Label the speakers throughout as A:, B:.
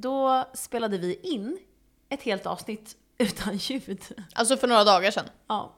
A: Då spelade vi in ett helt avsnitt utan ljud.
B: Alltså för några dagar sedan.
A: Ja.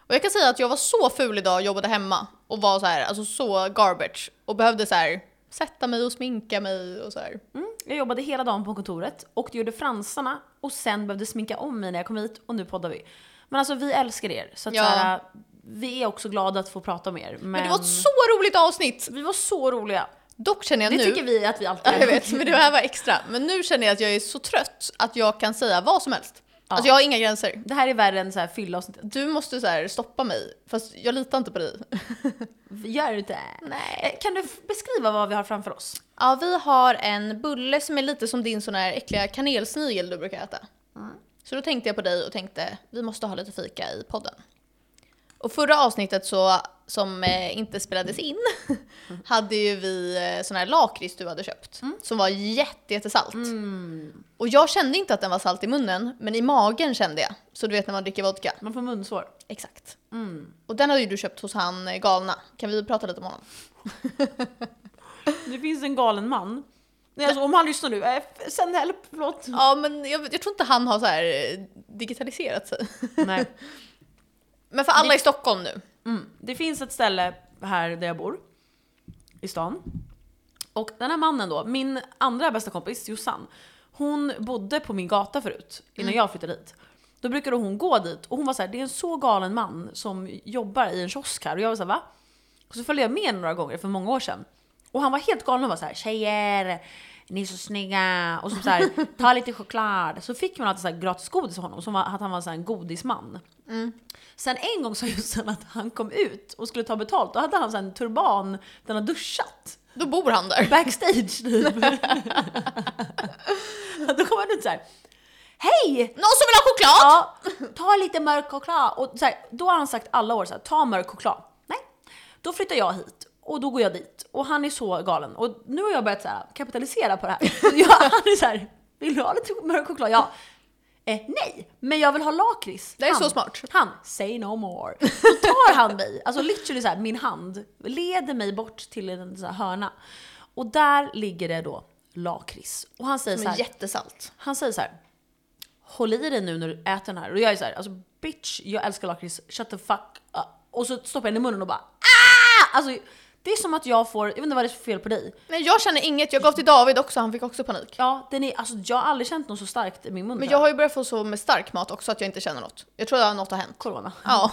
B: Och jag kan säga att jag var så ful idag och jobbade hemma och var så här, alltså så garbage och behövde så här sätta mig och sminka mig och så här.
A: Mm. Jag jobbade hela dagen på kontoret och gjorde fransarna och sen behövde sminka om mig när jag kom hit och nu poddar vi. Men alltså vi älskar er. Så att
B: Ja.
A: så här, vi är också glada att få prata med er. Men,
B: Men det var ett så roligt avsnitt!
A: vi var så roliga.
B: Dock känner jag
A: Det
B: nu...
A: tycker vi att vi alltid
B: Ja, jag vet, men det här var extra. Men nu känner jag att jag är så trött att jag kan säga vad som helst. Alltså jag har inga gränser.
A: Det här är värre än så här fylla avsnittet.
B: Du måste så här stoppa mig, fast jag litar inte på dig.
A: Gör du det? Nej. Kan du f- beskriva vad vi har framför oss?
B: Ja, vi har en bulle som är lite som din sån här äckliga kanelsnigel du brukar äta. Så då tänkte jag på dig och tänkte, vi måste ha lite fika i podden. Och förra avsnittet så, som eh, inte spelades in, hade ju vi eh, sån här lakrits du hade köpt. Som var jätte, jättesalt.
A: Mm.
B: Och jag kände inte att den var salt i munnen, men i magen kände jag. Så du vet när man dricker vodka.
A: Man får munsår. Mm.
B: Exakt. Och den har ju du köpt hos han eh, galna. Kan vi prata lite om honom?
A: Det finns en galen man. Nej, alltså, om han lyssnar nu, eh, f- sänd hjälp, förlåt.
B: Ja, men jag, jag tror inte han har så här eh, digitaliserat sig.
A: Nej.
B: Men för alla i Stockholm nu.
A: Mm. Det finns ett ställe här där jag bor, i stan. Och den här mannen då, min andra bästa kompis Jossan, hon bodde på min gata förut, innan jag flyttade dit. Då brukade hon gå dit och hon var så här, det är en så galen man som jobbar i en kiosk här. Och jag var så här, va? Och så följde jag med några gånger för många år sedan. Och han var helt galen och var så här, tjejer, ni är så snygga. Och så, så här, ta lite choklad. Så fick man alltid så här gratis godis av honom, som var, att han var så här en godisman. Sen en gång sa Jossan att han kom ut och skulle ta betalt, då hade han så här en turban, den har duschat.
B: Då bor han där.
A: Backstage typ. då kom han ut så här. Hej!
B: Någon som vill ha choklad?
A: Ja, ta lite mörk choklad. Och så här, då har han sagt alla år så här, ta mörk choklad. Nej. Då flyttar jag hit och då går jag dit. Och han är så galen. Och nu har jag börjat så här, kapitalisera på det här. Så jag, han är så här, vill du ha lite mörk choklad? Ja. Eh, nej, men jag vill ha lakrits.
B: Det är
A: Han-
B: så smart.
A: Han, say no more. Då tar han mig, alltså literally så här, min hand, leder mig bort till en så här hörna. Och där ligger det då lakrits. Och han säger så
B: Som är
A: här,
B: jättesalt.
A: han säger så här. Håll i dig nu när du äter den här. Och jag är så här, alltså bitch, jag älskar lakrits, shut the fuck up. Och så stoppar jag den i munnen och bara ah! Alltså det är som att jag får, jag vet inte vad det är för fel på dig.
B: Nej jag känner inget, jag gav till David också, han fick också panik.
A: Ja, den är, alltså jag har aldrig känt något så starkt i min mun.
B: Men
A: tror
B: jag har ju börjat få så med stark mat också att jag inte känner något. Jag tror att något har hänt.
A: Corona.
B: Ja.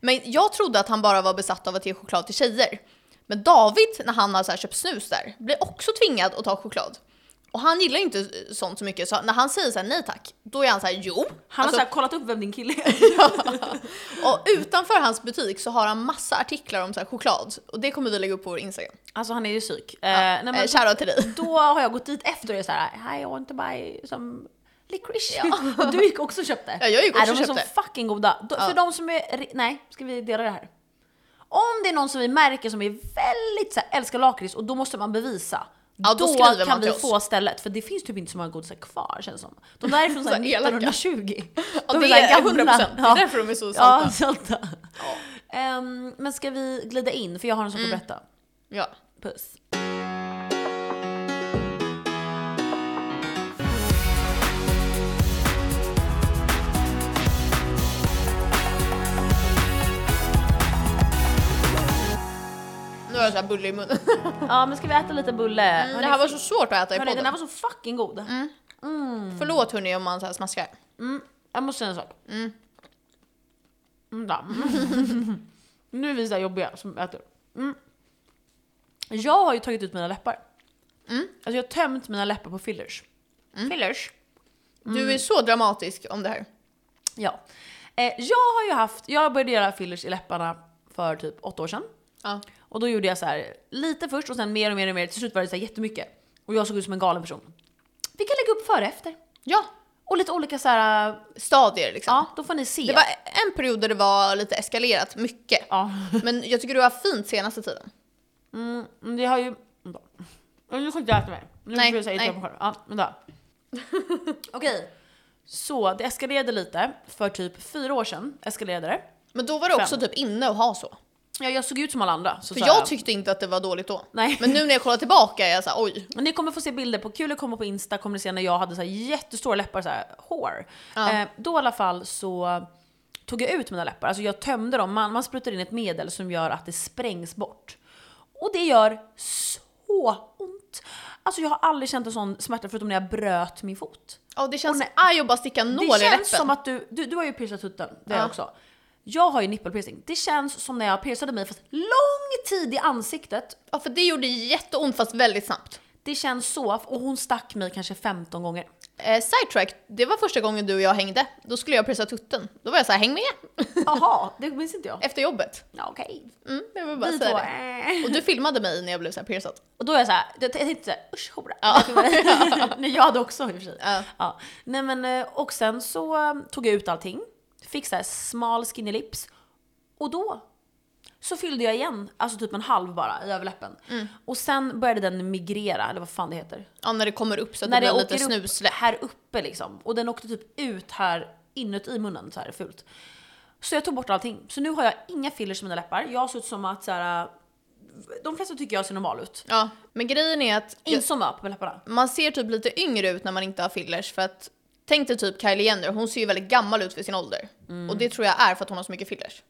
B: Men jag trodde att han bara var besatt av att ge choklad till tjejer. Men David, när han har så här köpt snus där, blir också tvingad att ta choklad. Och han gillar ju inte sånt så mycket, så när han säger så här, nej tack, då är han så här, jo.
A: Han har
B: Alltså,
A: så här kollat upp vem din kille är.
B: och utanför hans butik så har han massa artiklar om så här choklad. Och det kommer vi lägga upp på vår Instagram.
A: Alltså han är ju psyk. eh, nej,
B: Eh,
A: men,
B: Shoutout till dig.
A: då har jag gått dit efter och är såhär I want to buy some licorice. och du gick också och köpte.
B: Ja, jag gick
A: Nej,
B: också
A: de
B: och
A: är
B: köpte.
A: så fucking goda. Då- För de som är, ri- nej, ska vi dela det här? Om det är någon som vi märker som är väldigt såhär, älskar lakrits och då måste man bevisa.
B: Ja, då skriver man
A: kan vi
B: till oss.
A: få stället, för det finns typ inte så många godisar kvar känns det som. De där är från så här
B: Så elaka.
A: 1920.
B: Ja,
A: De
B: det
A: så här
B: är
A: gamla.
B: 100%. Det
A: Ja.
B: är därför de är så salta.
A: Ja, salta. Ehm, men ska vi glida in? För jag har en sak att
B: Mm.
A: berätta.
B: Ja.
A: Puss.
B: Nu har jag så här bulle i munnen.
A: Ja men ska vi äta lite bulle?
B: Mm, det här var så svårt att äta
A: Hörni,
B: i
A: den
B: podden.
A: här var så fucking god.
B: Förlåt hörni om man så här smaskar.
A: Jag måste säga en sak. Mm. da. Mm. nu är vi så här jobbiga som äter. Mm. Jag har ju tagit ut mina läppar. Alltså jag har tömt mina läppar på fillers. Fillers?
B: Du är så dramatisk om det här.
A: Ja. Eh, jag har ju haft, jag började göra fillers i läpparna för typ åtta år sedan.
B: Ja.
A: Och då gjorde jag så här lite först och sen mer och mer och mer. Till slut var det så här jättemycket. Och jag såg ut som en galen person. Vi kan lägga upp före och efter.
B: ja.
A: Och lite olika så här
B: Stadier liksom.
A: Ja, då får ni se.
B: Det var en period där det var lite eskalerat, mycket.
A: Ja,
B: Men jag tycker du har fint senaste tiden.
A: mm, men det har ju... vänta. Nu kan inte jag äta mer. Nu
B: Nej,
A: får jag säga
B: nej.
A: nej. Själv. Ja, vänta. Okej. Så det eskalerade lite för typ fyra år sedan. Eskalerade det.
B: Men då var det också typ inne att ha så.
A: Ja, jag såg ut som alla andra. Så
B: För
A: sa
B: jag tyckte inte att det var dåligt då.
A: Nej.
B: Men nu när jag kollar tillbaka är jag såhär oj.
A: Men ni kommer få se bilder på Kul att komma på Insta, kommer ni se när jag hade så här jättestora läppar, så här hår.
B: Ja.
A: Eh, då i alla fall så tog jag ut mina läppar, alltså jag tömde dem. Man, man sprutar in ett medel som gör att det sprängs bort. Och det gör så ont! Alltså jag har aldrig känt en sån smärta förutom när jag bröt min fot.
B: Ja det
A: Och
B: känns
A: nej.
B: aj att bara sticka en nål i
A: Det
B: läppen.
A: känns som att du, du, du har ju piercat tutten, det har jag
B: Ja.
A: också. Jag har ju nippelpiercing. Det känns som när jag piercade mig fast lång tid i ansiktet.
B: Ja för det gjorde jätteont fast väldigt snabbt.
A: Det känns så, och hon stack mig kanske 15 gånger.
B: Eh, sidetrack, det var första gången du och jag hängde. Då skulle jag pressa tutten. Då var jag så här, häng med!
A: Jaha, det minns inte jag.
B: Efter jobbet.
A: Ja, Okej.
B: Mm, jag vill bara
A: Vi
B: säga
A: två,
B: det.
A: äh.
B: Och du filmade mig när jag blev så här piercad.
A: Och då är jag såhär, jag tänkte såhär, usch hora.
B: Ja.
A: Nej jag hade också i och för sig.
B: Ja.
A: Ja. Nej men eh, och sen så eh, tog jag ut allting, fick såhär smal skinny lips. Och då så fyllde jag igen, alltså typ en halv bara i överläppen. Och sen började den migrera, eller vad fan det heter.
B: Ja, när det kommer upp så att
A: När
B: det
A: det
B: blir lite
A: åker upp
B: snusläpp.
A: här uppe liksom. Och den åkte typ ut här inuti munnen så här fult. Så jag tog bort allting. Så nu har jag inga fillers i mina läppar. Jag ser ut som att så här, de flesta tycker jag ser normal ut.
B: Ja, men grejen är att jag,
A: Inte som upp med läpparna.
B: man ser typ lite yngre ut när man inte har fillers för att tänk dig typ Kylie Jenner, hon ser ju väldigt gammal ut för sin ålder. Och det tror jag är för att hon har så mycket fillers.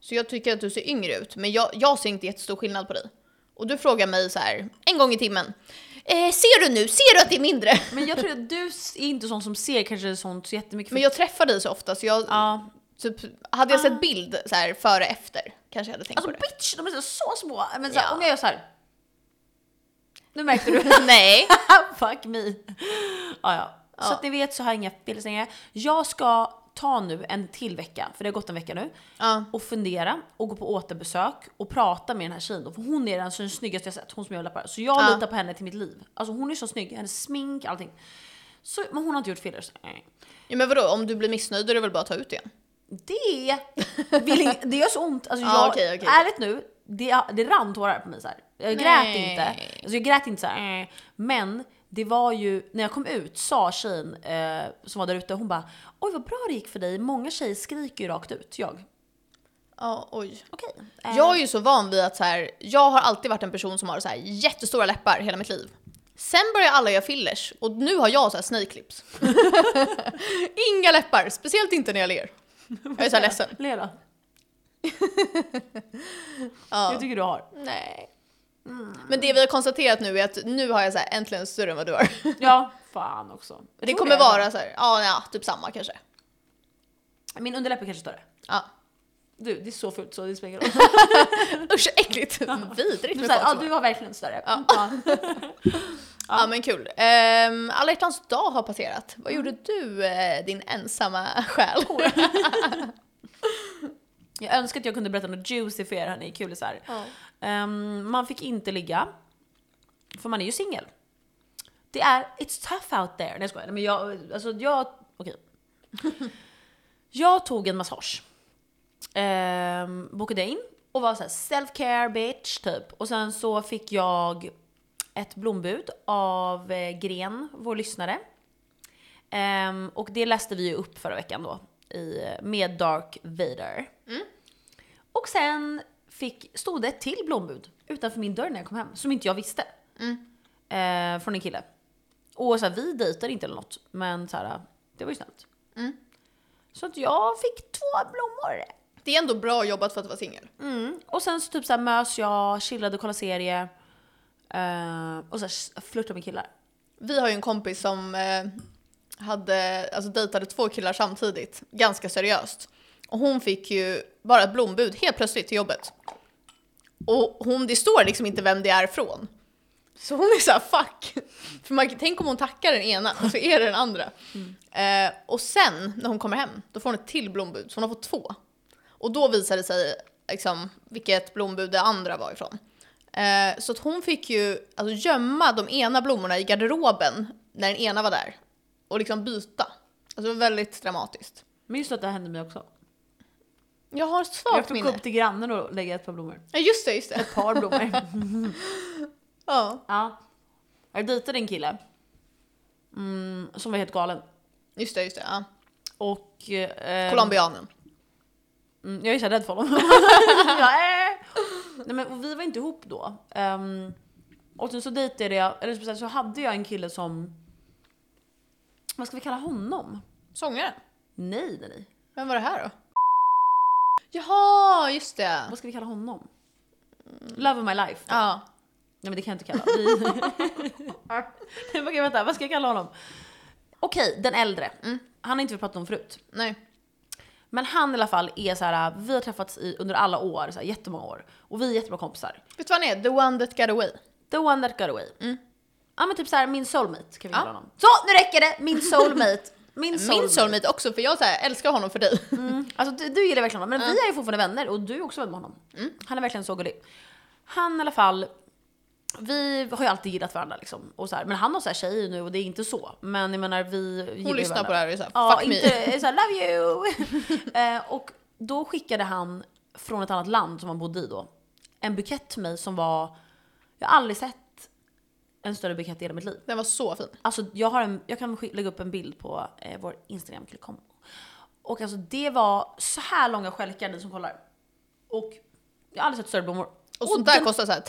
B: Så jag tycker att du ser yngre ut, men jag, jag ser inte jättestor skillnad på dig. Och du frågar mig så här en gång i timmen. Eh, ser du nu? Ser du att det är mindre?
A: Men jag tror att du är inte sån som ser kanske sånt så jättemycket.
B: Men jag träffar dig så ofta så jag,
A: ja.
B: typ, hade jag sett bild så här före efter kanske jag hade tänkt
A: Alltså
B: på det.
A: bitch, de är så- så små. Men så här,
B: Ja.
A: om jag gör så här. Nu märkte du.
B: Nej.
A: Fuck me. Ja, ja. Så att ni vet så har jag inga pilsningar. Jag ska ta nu en till vecka, för det har gått en vecka nu.
B: Ja.
A: Och fundera och gå på återbesök och prata med den här tjejen då, för hon är den, så den snyggaste jag sett, hon som jag läppar. Så jag
B: Ja.
A: litar på henne till mitt liv. Alltså hon är så snygg, hennes smink, allting. Så, men hon har inte gjort fillers. Nej.
B: Ja, men vadå, om du blir missnöjd är det väl bara att ta ut igen?
A: Det, vill in, det gör så ont. Alltså
B: Ja,
A: jag,
B: okej, okej.
A: Ärligt nu, det, det rann tårar på mig så här. Jag grät
B: Nej.
A: inte. Alltså jag grät inte så här. eh. Men det var ju, när jag kom ut sa tjejen eh, som var där ute, hon bara “Oj vad bra det gick för dig, många tjejer skriker ju rakt ut”. Jag,
B: Ja, oj.
A: okej. Eh,
B: Jag är ju så van vid att så här, jag har alltid varit en person som har så här jättestora läppar hela mitt liv. Sen börjar alla göra fillers och nu har jag så här snake lips. Inga läppar, speciellt inte när jag ler. Jag är så här ledsen.
A: Le då. Jag
B: Ja.
A: tycker du har.
B: Nej. Men det vi har konstaterat nu är att nu har jag så här äntligen större än vad du har.
A: Ja, fan också. Jag
B: Det
A: tror
B: kommer vara så här, ja, ja typ samma kanske.
A: Min underläpp är kanske större.
B: Ja.
A: Du, det är så fult så det spelar ingen roll.
B: Usch äckligt, Typ vidrigt.
A: Du,
B: med
A: så här,
B: folk
A: ja,
B: som-
A: du har verkligen större.
B: Ja.
A: Ja.
B: Ja. men kul. Ehm, Alla hjärtans dag har passerat. Vad gjorde du eh, din ensamma själ?
A: Jag önskar att jag kunde berätta något juicy för er hörni, kulisar.
B: Ja.
A: Ehm, man fick inte ligga, för man är ju singel. Det är, it's tough out there. Nej jag skojar, Nej, men jag, alltså jag, okej. jag tog en massage. Ehm, bokade in och var såhär self-care bitch typ. Och sen så fick jag ett blombud av eh, Gren, vår lyssnare. Ehm, och det läste vi ju upp förra veckan då, i, eh, med Dark Vader. Och sen fick, stod det ett till blombud utanför min dörr när jag kom hem, som inte jag visste. Eh, från en kille. Och så här, vi dejtar inte eller något, men så här, det var ju snällt. Så att jag fick två blommor.
B: Det är ändå bra jobbat för att vara singel.
A: Mm. Och sen så typ så här, mös jag, chillade och kollade serie. Eh, och så här, flörtade med killar.
B: Vi har ju en kompis som eh, hade, alltså dejtade två killar samtidigt, ganska seriöst. Och hon fick ju bara ett blombud helt plötsligt till jobbet. Och hon, det står liksom inte vem det är från. Så hon är så här, fuck. För man, tänk om hon tackar den ena och så är det den andra. Eh, och sen när hon kommer hem, då får hon ett till blombud. Så hon har fått två. Och då visade det sig liksom, vilket blombud det andra var ifrån. Eh, så att hon fick ju alltså, gömma de ena blommorna i garderoben när den ena var där. Och liksom byta. Alltså det var väldigt dramatiskt.
A: Men just att det hände mig också.
B: Jag har ett
A: Jag
B: svagt
A: fick
B: minne.
A: upp till grannen och lägga ett par blommor.
B: Ja just det, just det.
A: Ett par blommor.
B: Ja,
A: ja. Jag dejtade en kille. Mm, som var helt galen.
B: just det, just det. Ja.
A: Och... Eh,
B: Colombianen.
A: Mm, jag är så här rädd för honom. jag,
B: eh.
A: äh. Nej, men, och vi var inte ihop då. Ehm, och sen så dejtade jag, eller speciellt så hade jag en kille som, vad ska vi kalla honom?
B: Sångaren?
A: Nej, nej, nej.
B: Vem var det här då? Jaha, just det.
A: Vad ska vi kalla honom? Love of my life.
B: Mm. Ja.
A: Nej men det kan jag inte kalla. Vi... Nej, Okej vänta, vad ska jag kalla honom? Okej, den äldre.
B: Mm.
A: Han har inte vi pratat om förut.
B: Nej.
A: Men han i alla fall är så här, vi har träffats i, under alla år, så här, jättemånga år. Och vi är jättebra kompisar.
B: Vet du vad han är? The one that got away.
A: The one that got away.
B: Mm.
A: Ja men typ så här, min soulmate kan vi
B: Ja.
A: kalla honom. Så nu räcker det! Min soulmate. Min soulmate.
B: Min soulmate också för jag så här, älskar honom för dig.
A: Mm. Alltså du, du gillar verkligen honom, men vi är ju fortfarande vänner och du är också vän med honom.
B: Mm.
A: Han är verkligen så gullig. Han i alla fall, vi har ju alltid gillat varandra liksom. Och så här, men han har så här tjejer nu och det är inte så. Men jag menar vi gillar ju
B: Hon lyssnar
A: varandra.
B: på det här och är så här,
A: Ja,
B: fuck me.
A: inte såhär love you! eh, och då skickade han från ett annat land som han bodde i då, en bukett till mig som var, jag har aldrig sett en större bukett i hela mitt liv.
B: Den var så fin.
A: Alltså jag, har en, jag kan skick- lägga upp en bild på eh, vår Instagram, klick om. Och alltså det var så här långa stjälkar ni som kollar. Och jag har aldrig sett större blommor.
B: Och sånt där
A: den, Oh
B: kostar så här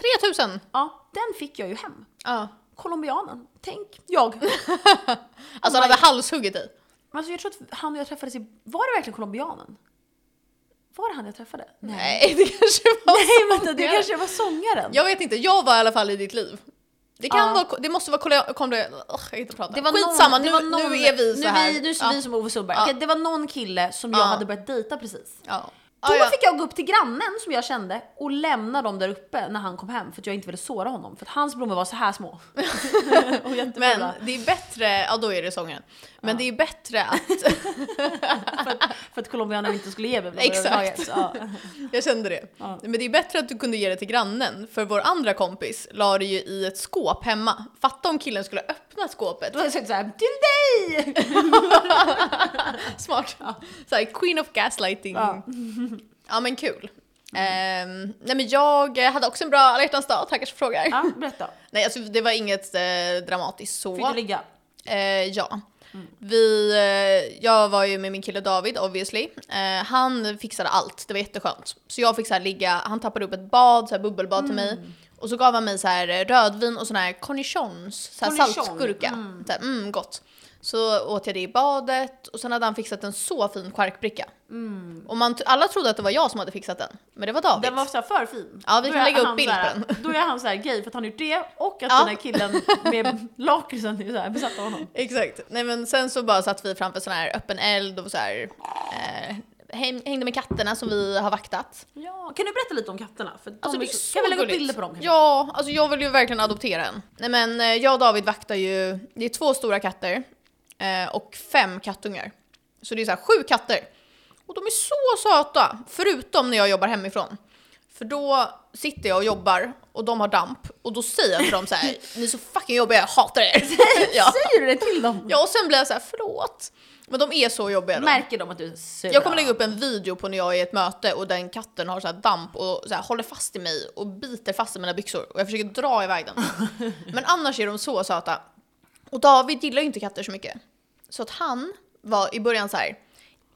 B: 3000.
A: ja, den fick jag ju hem.
B: Ja.
A: Colombianen, tänk jag.
B: Alltså han hade halshuggit i.
A: Alltså jag tror att han och jag träffades i, var det verkligen colombianen? Var det han jag träffade?
B: Nej, det kanske var
A: Nej vänta, det
B: sångaren.
A: kanske var sångaren.
B: Jag vet inte, jag var i alla fall i ditt liv. Det kan
A: Ja.
B: vara, det måste vara kollega, kom det, Ugh, jag kan inte prata.
A: Det var någon-
B: Skitsamma,
A: det
B: nu,
A: var någon-
B: nu är vi så
A: nu är
B: här.
A: Vi, nu är
B: ja.
A: vi som Ove Sundberg.
B: Ja.
A: Okej, Det var någon kille som jag
B: Ja.
A: hade börjat dejta precis.
B: Ja.
A: Då
B: Ja, ja.
A: fick jag gå upp till grannen som jag kände och lämna dem där uppe när han kom hem för att jag inte ville såra honom. För att hans blommor var så här små. och jättefula.
B: Men det är bättre, ja då är det sången. Men det är bättre att,
A: för, att, för att colombianer inte skulle ge mig blommor
B: Exakt.
A: överhuvudtaget, så, ja.
B: jag kände det.
A: Ja.
B: Men det är bättre att du kunde ge det till grannen, för vår andra kompis la det ju i ett skåp hemma. Fatta om killen skulle öppna skåpet.
A: Då hade jag sagt såhär till dig!
B: Smart. Så här, queen of gaslighting.
A: Ja.
B: Ja, men kul. Ehm, nej men jag eh, hade också en bra alla hjärtans dag, tackar som frågar.
A: Ja, berätta.
B: Nej alltså det var inget eh, dramatiskt så.
A: Fick du ligga?
B: Eh, ja. Vi, eh, jag var ju med min kille David obviously. Eh, han fixade allt, det var jätteskönt. Så jag fick så här ligga, han tappade upp ett bad, så här bubbelbad till mig. Och så gav han mig så här eh, rödvin och sån här cornichons, så här
A: Cornichon,
B: saltgurka. Så här, mm, gott. Så åt jag det i badet och sen hade han fixat en så fin charkbricka. Och man, t- alla trodde att det var jag som hade fixat den, men det var David.
A: Den var såhär för fin.
B: Ja, vi
A: Då
B: kan
A: är
B: lägga upp
A: han
B: bild på
A: såhär-
B: den.
A: Då är han såhär gay för att han gjort det och att
B: Ja.
A: den här killen med lakritsen är såhär besatt av honom.
B: Exakt. Nej men sen så bara satt vi framför sån här öppen eld och så här, eh, häng- hängde med katterna som vi har vaktat.
A: Ja, kan du berätta lite om katterna? För de
B: Alltså
A: är
B: det är
A: så-
B: så
A: kan vi lägga upp
B: gulligt.
A: bilder på dem? kanske?
B: Ja, alltså jag vill ju verkligen adoptera en. Nej men eh, jag och David vaktar ju, det är två stora katter eh, och fem kattungar. Så det är så här sju katter. Och de är så söta, förutom när jag jobbar hemifrån. För då sitter jag och jobbar och de har damp och då säger jag till dem så här: ni är så fucking jobbiga, jag hatar er. ja.
A: Säger du det till dem?
B: ja, och sen blir jag så här: förlåt. Men de är så jobbiga. de.
A: Märker de att du är sur?
B: Jag kommer lägga upp en video på när jag är i ett möte och den katten har så här damp och så här håller fast i mig och biter fast i mina byxor och jag försöker dra iväg den. Men annars är de så söta. Och David gillar ju inte katter så mycket. Så att han var i början så här.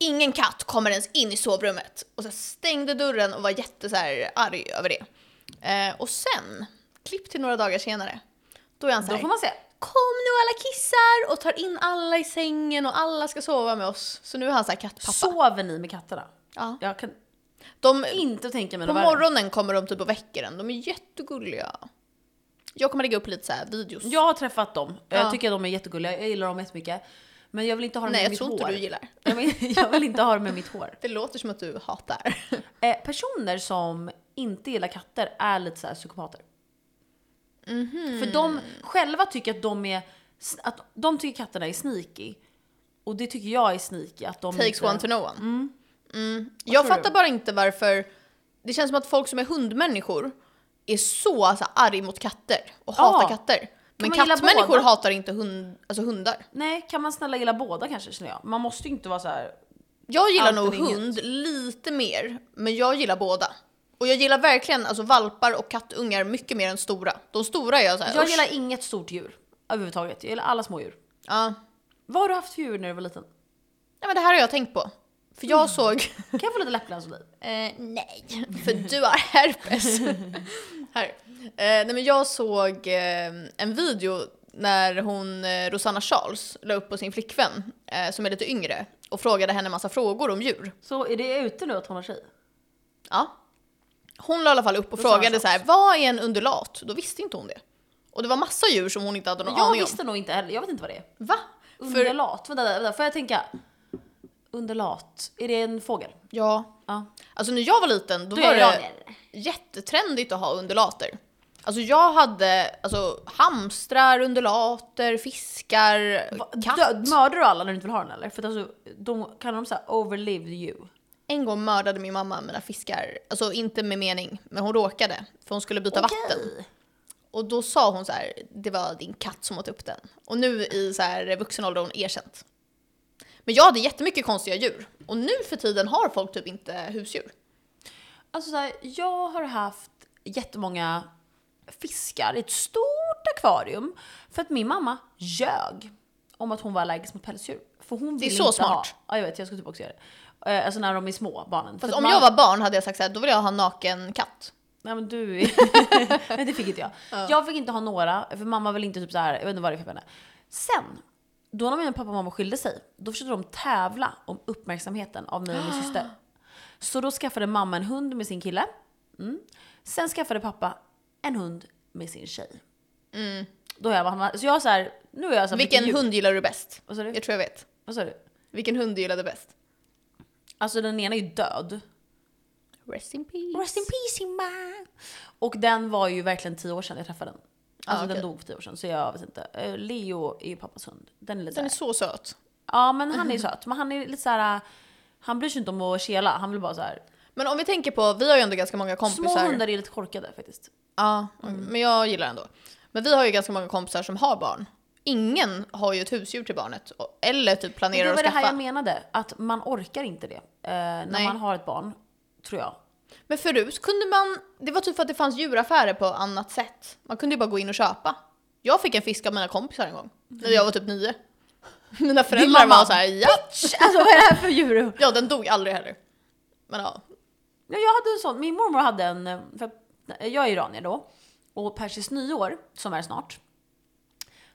B: Ingen katt kommer ens in i sovrummet. Och så här stängde dörren och var jätte så här arg över det. Eh, och sen, klipp till några dagar senare, då är han så
A: Då
B: här.
A: får man se.
B: Kom nu alla kissar och tar in alla i sängen och alla ska sova med oss. Så nu är han så här kattpappa.
A: Sover ni med katterna?
B: Ja.
A: Jag kan
B: De,
A: inte tänka mig
B: på
A: något värre.
B: morgonen kommer de typ och väcker en. De är jättegulliga. Jag kommer lägga upp lite så här videos.
A: Jag har träffat dem. Jag
B: Ja.
A: tycker att de är jättegulliga. Jag gillar dem jättemycket. Men jag vill inte ha dem
B: Nej,
A: med
B: jag
A: mitt
B: tror inte
A: hår.
B: du gillar.
A: jag, vill, jag vill inte ha dem med mitt hår.
B: Det låter som att du hatar.
A: Eh, personer som inte gillar katter är lite så här psykopater.
B: Mhm.
A: För de själva tycker att de är... Att de tycker katterna är sneaky. Och det tycker jag är sneaky. Att de
B: Takes
A: inte,
B: one to know one. Mm. Jag
A: tror du?
B: fattar bara inte varför. Det känns som att folk som är hundmänniskor är så alltså, arg mot katter och
A: Ja.
B: hatar katter. Men
A: man gilla
B: kattmänniskor
A: båda?
B: hatar inte hund, alltså hundar.
A: Nej, kan man snälla gilla båda kanske känner jag. Man måste ju inte vara så här.
B: Jag gillar
A: Allt
B: nog
A: eller inget.
B: hund lite mer, men jag gillar båda. Och jag gillar verkligen alltså, valpar och kattungar mycket mer än stora. De stora är jag såhär,
A: Jag gillar inget stort djur överhuvudtaget. Jag gillar alla smådjur.
B: Ja.
A: Vad har du haft för djur när du var liten?
B: Nej men det här har jag tänkt på. För
A: Mm.
B: jag såg...
A: Kan jag få lite läppglans av dig?
B: Eh, nej, för du har herpes. Här. Eh, nej men jag såg eh, en video när hon, eh, Rosanna Charles, la upp på sin flickvän eh, som är lite yngre och frågade henne en massa frågor om djur.
A: Så är det ute nu att hon har tjej?
B: Ja. Hon la i alla fall upp och
A: Rosanna
B: frågade så här, vad är en undulat? Då visste inte hon det. Och det var massa djur som hon inte hade någon
A: Jag
B: aning
A: visste nog inte heller, jag vet inte vad det är.
B: om. Va? För,
A: Underlat, vänta, vänta, vänta får jag tänka? Underlat, är det en fågel?
B: ja.
A: Ja.
B: Alltså när jag var liten då
A: Då
B: var
A: är
B: det...
A: jag ner.
B: jättetrendigt att ha undulater. Alltså jag hade alltså, hamstrar, undulater, fiskar,
A: Va-
B: katt.
A: död- Mördar du alla när du inte vill ha den eller? För att alltså, de kallar dem såhär overlived you.
B: En gång mördade min mamma mina fiskar. Alltså inte med mening, men hon råkade. För hon skulle byta vatten.
A: Okej.
B: Och då sa hon så här, det var din katt som åt upp den. Och nu i så här vuxen ålder har hon erkänt. Men jag hade jättemycket konstiga djur. Och nu för tiden har folk typ inte husdjur.
A: Alltså så här, jag har haft jättemånga fiskar i ett stort akvarium för att min mamma ljög om att hon var allergisk mot pälsdjur. För hon
B: Det är
A: vill
B: så
A: inte
B: smart.
A: Ha, ja, jag vet, jag skulle typ också göra det. Eh, Alltså när de är små, barnen. För
B: Fast
A: att
B: om
A: man-
B: jag var barn hade jag sagt så här, då vill jag ha en naken katt.
A: Nej men du... Nej det fick inte jag. Jag fick inte ha några, för mamma ville inte typ så här, jag vet inte vad det är för henne. Sen, då när min pappa och mamma skilde sig, då försökte de tävla om uppmärksamheten av mig och min syster. Så då skaffade mamma en hund med sin kille. Mm. Sen skaffade pappa en hund med sin tjej. Då har jag bara, så jag har så här, nu är jag så här,
B: Mm. Vilken
A: djur- Mm.
B: hund gillar du bäst?
A: Vad sa du?
B: Jag tror jag vet.
A: Vad sa du?
B: Vilken hund du gillade bäst?
A: Alltså den ena är ju död.
B: Rest in peace.
A: Rest in peace Simba! Och den var ju verkligen tio år sedan jag träffade den. Alltså
B: Ah, okej.
A: den dog för tio år sedan så jag vet inte. Eh, Leo är ju pappas hund. Den är Mm. lite
B: Den är
A: såhär-
B: så söt.
A: Ja men han är ju söt. Men han är lite såhär, eh, han bryr sig inte om att kela. Han vill bara såhär.
B: Men om vi tänker på, vi har ju ändå ganska många kompisar.
A: Små hundar Mm. är lite korkade faktiskt.
B: Ja, men jag gillar ändå. Men vi har ju ganska många kompisar som har barn. Ingen har ju ett husdjur till barnet. och- Eller typ
A: Men
B: planerar
A: det
B: att
A: var det
B: skaffa.
A: här jag menade, att man orkar inte det. Eh, när
B: Nej.
A: man har ett barn, tror jag.
B: men förut kunde man, det var typ för att det fanns djuraffärer på annat sätt. Man kunde ju bara gå in och köpa. Jag fick en fisk av mina kompisar en gång. När jag var typ nio. Mina föräldrar
A: mamma.
B: var såhär ja.
A: Alltså vad är det här för djur?
B: Ja den dog aldrig heller. Men ja.
A: Ja, jag hade en sån. Min mormor hade en, eh, för att- jag är iranier då, och persis nyår, som är snart,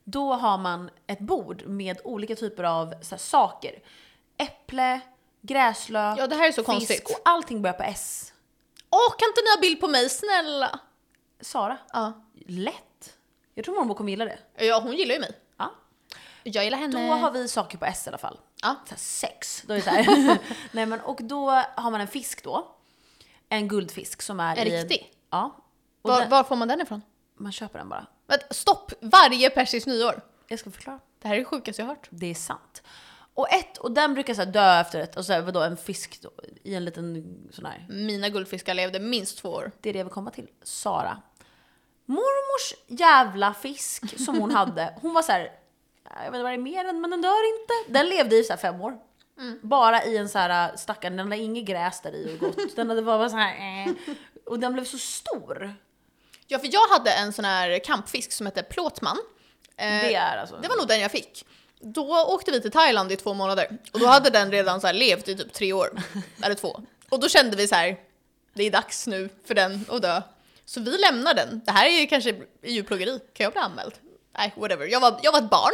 A: då har man ett bord med olika typer av så här, saker. Äpple, gräslök,
B: ja, det här är så
A: fisk
B: konstigt.
A: och allting börjar på S.
B: Åh, kan inte ni ha bild på mig snälla?
A: Sara,
B: Ja.
A: lätt. Jag tror mormor kommer gilla det.
B: Ja, hon gillar ju mig.
A: Ja.
B: Jag gillar henne.
A: Då har vi saker på S i alla fall.
B: Eh. Ja.
A: Så här, sex. Då är det så här. Nej, men, och då har man en fisk då. En guldfisk som är
B: En
A: i
B: riktig?
A: Ja. Och
B: Var,
A: den,
B: var får man den ifrån?
A: man köper den bara.
B: Vänta, stopp! Varje persiskt nyår.
A: Jag ska förklara.
B: Det här är det sjukaste jag hört.
A: Det är sant. Och ett, och den brukar så här dö efter ett, och så här, vadå en fisk då, i en liten sån här.
B: Mina guldfiskar levde minst två år.
A: Det är det vi kommer till. Sara. Mormors jävla fisk som hon hade, hon var så här, jag vet inte vad det är mer än, men den dör inte. Den levde i så här fem år.
B: Mm.
A: Bara i en så här stackare, den hade inget gräs där i och gott. Den hade bara så här, eh. Och den blev så stor.
B: Ja, för jag hade en sån här kampfisk som hette plåtman. Eh,
A: Det är alltså.
B: det var nog den jag fick. Då åkte vi till Thailand i två månader och då hade den redan så här levt i typ tre år. Eller två. Och då kände vi så här, det är dags nu för den att dö. Så vi lämnar den. Det här är ju kanske djurplågeri, kan jag bli anmäld? Nej, whatever. Jag var, jag var ett barn.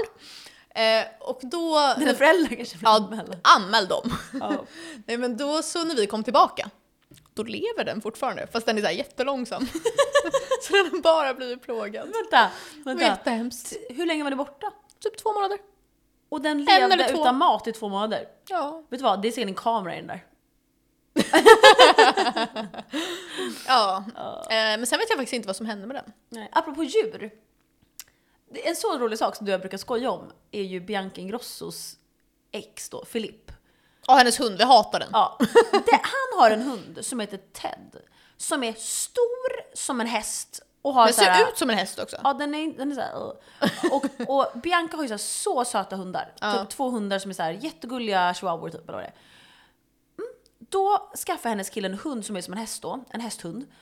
B: Eh, och då...
A: Dina föräldrar kanske blev
B: Ja,
A: anmälda.
B: anmäl dem.
A: Ja.
B: Nej men då så när vi kom tillbaka, då lever den fortfarande fast den är så här jättelångsam. så den har bara blivit plågad.
A: Vänta,
B: Det var
A: vänta.
B: jättehemskt.
A: Hur länge var det borta?
B: Typ två månader.
A: Och den
B: eller
A: levde
B: två.
A: utan mat i två månader.
B: Ja.
A: Vet du vad, det är säkert en kamera i den där.
B: ja. Eh, men sen vet jag faktiskt inte vad som hände med den.
A: Nej. Apropå djur. Det- En så rolig sak som du och jag brukar skoja om är ju Bianca Ingrossos ex då, Filipp.
B: Ja, hennes hund, vi hatar den.
A: Ja. Det, han har en hund som heter Ted. Som är stor som en häst och har
B: Den
A: så här-
B: ser ut som en häst också.
A: Ja den är, den är såhär... uh. Och, och Bianca har ju så, här, så söta hundar. Typ två hundar som är såhär jättegulliga chihuahuor typ eller vad det är. Mm. Då skaffar hennes kille en hund som är som en häst då, en hästhund.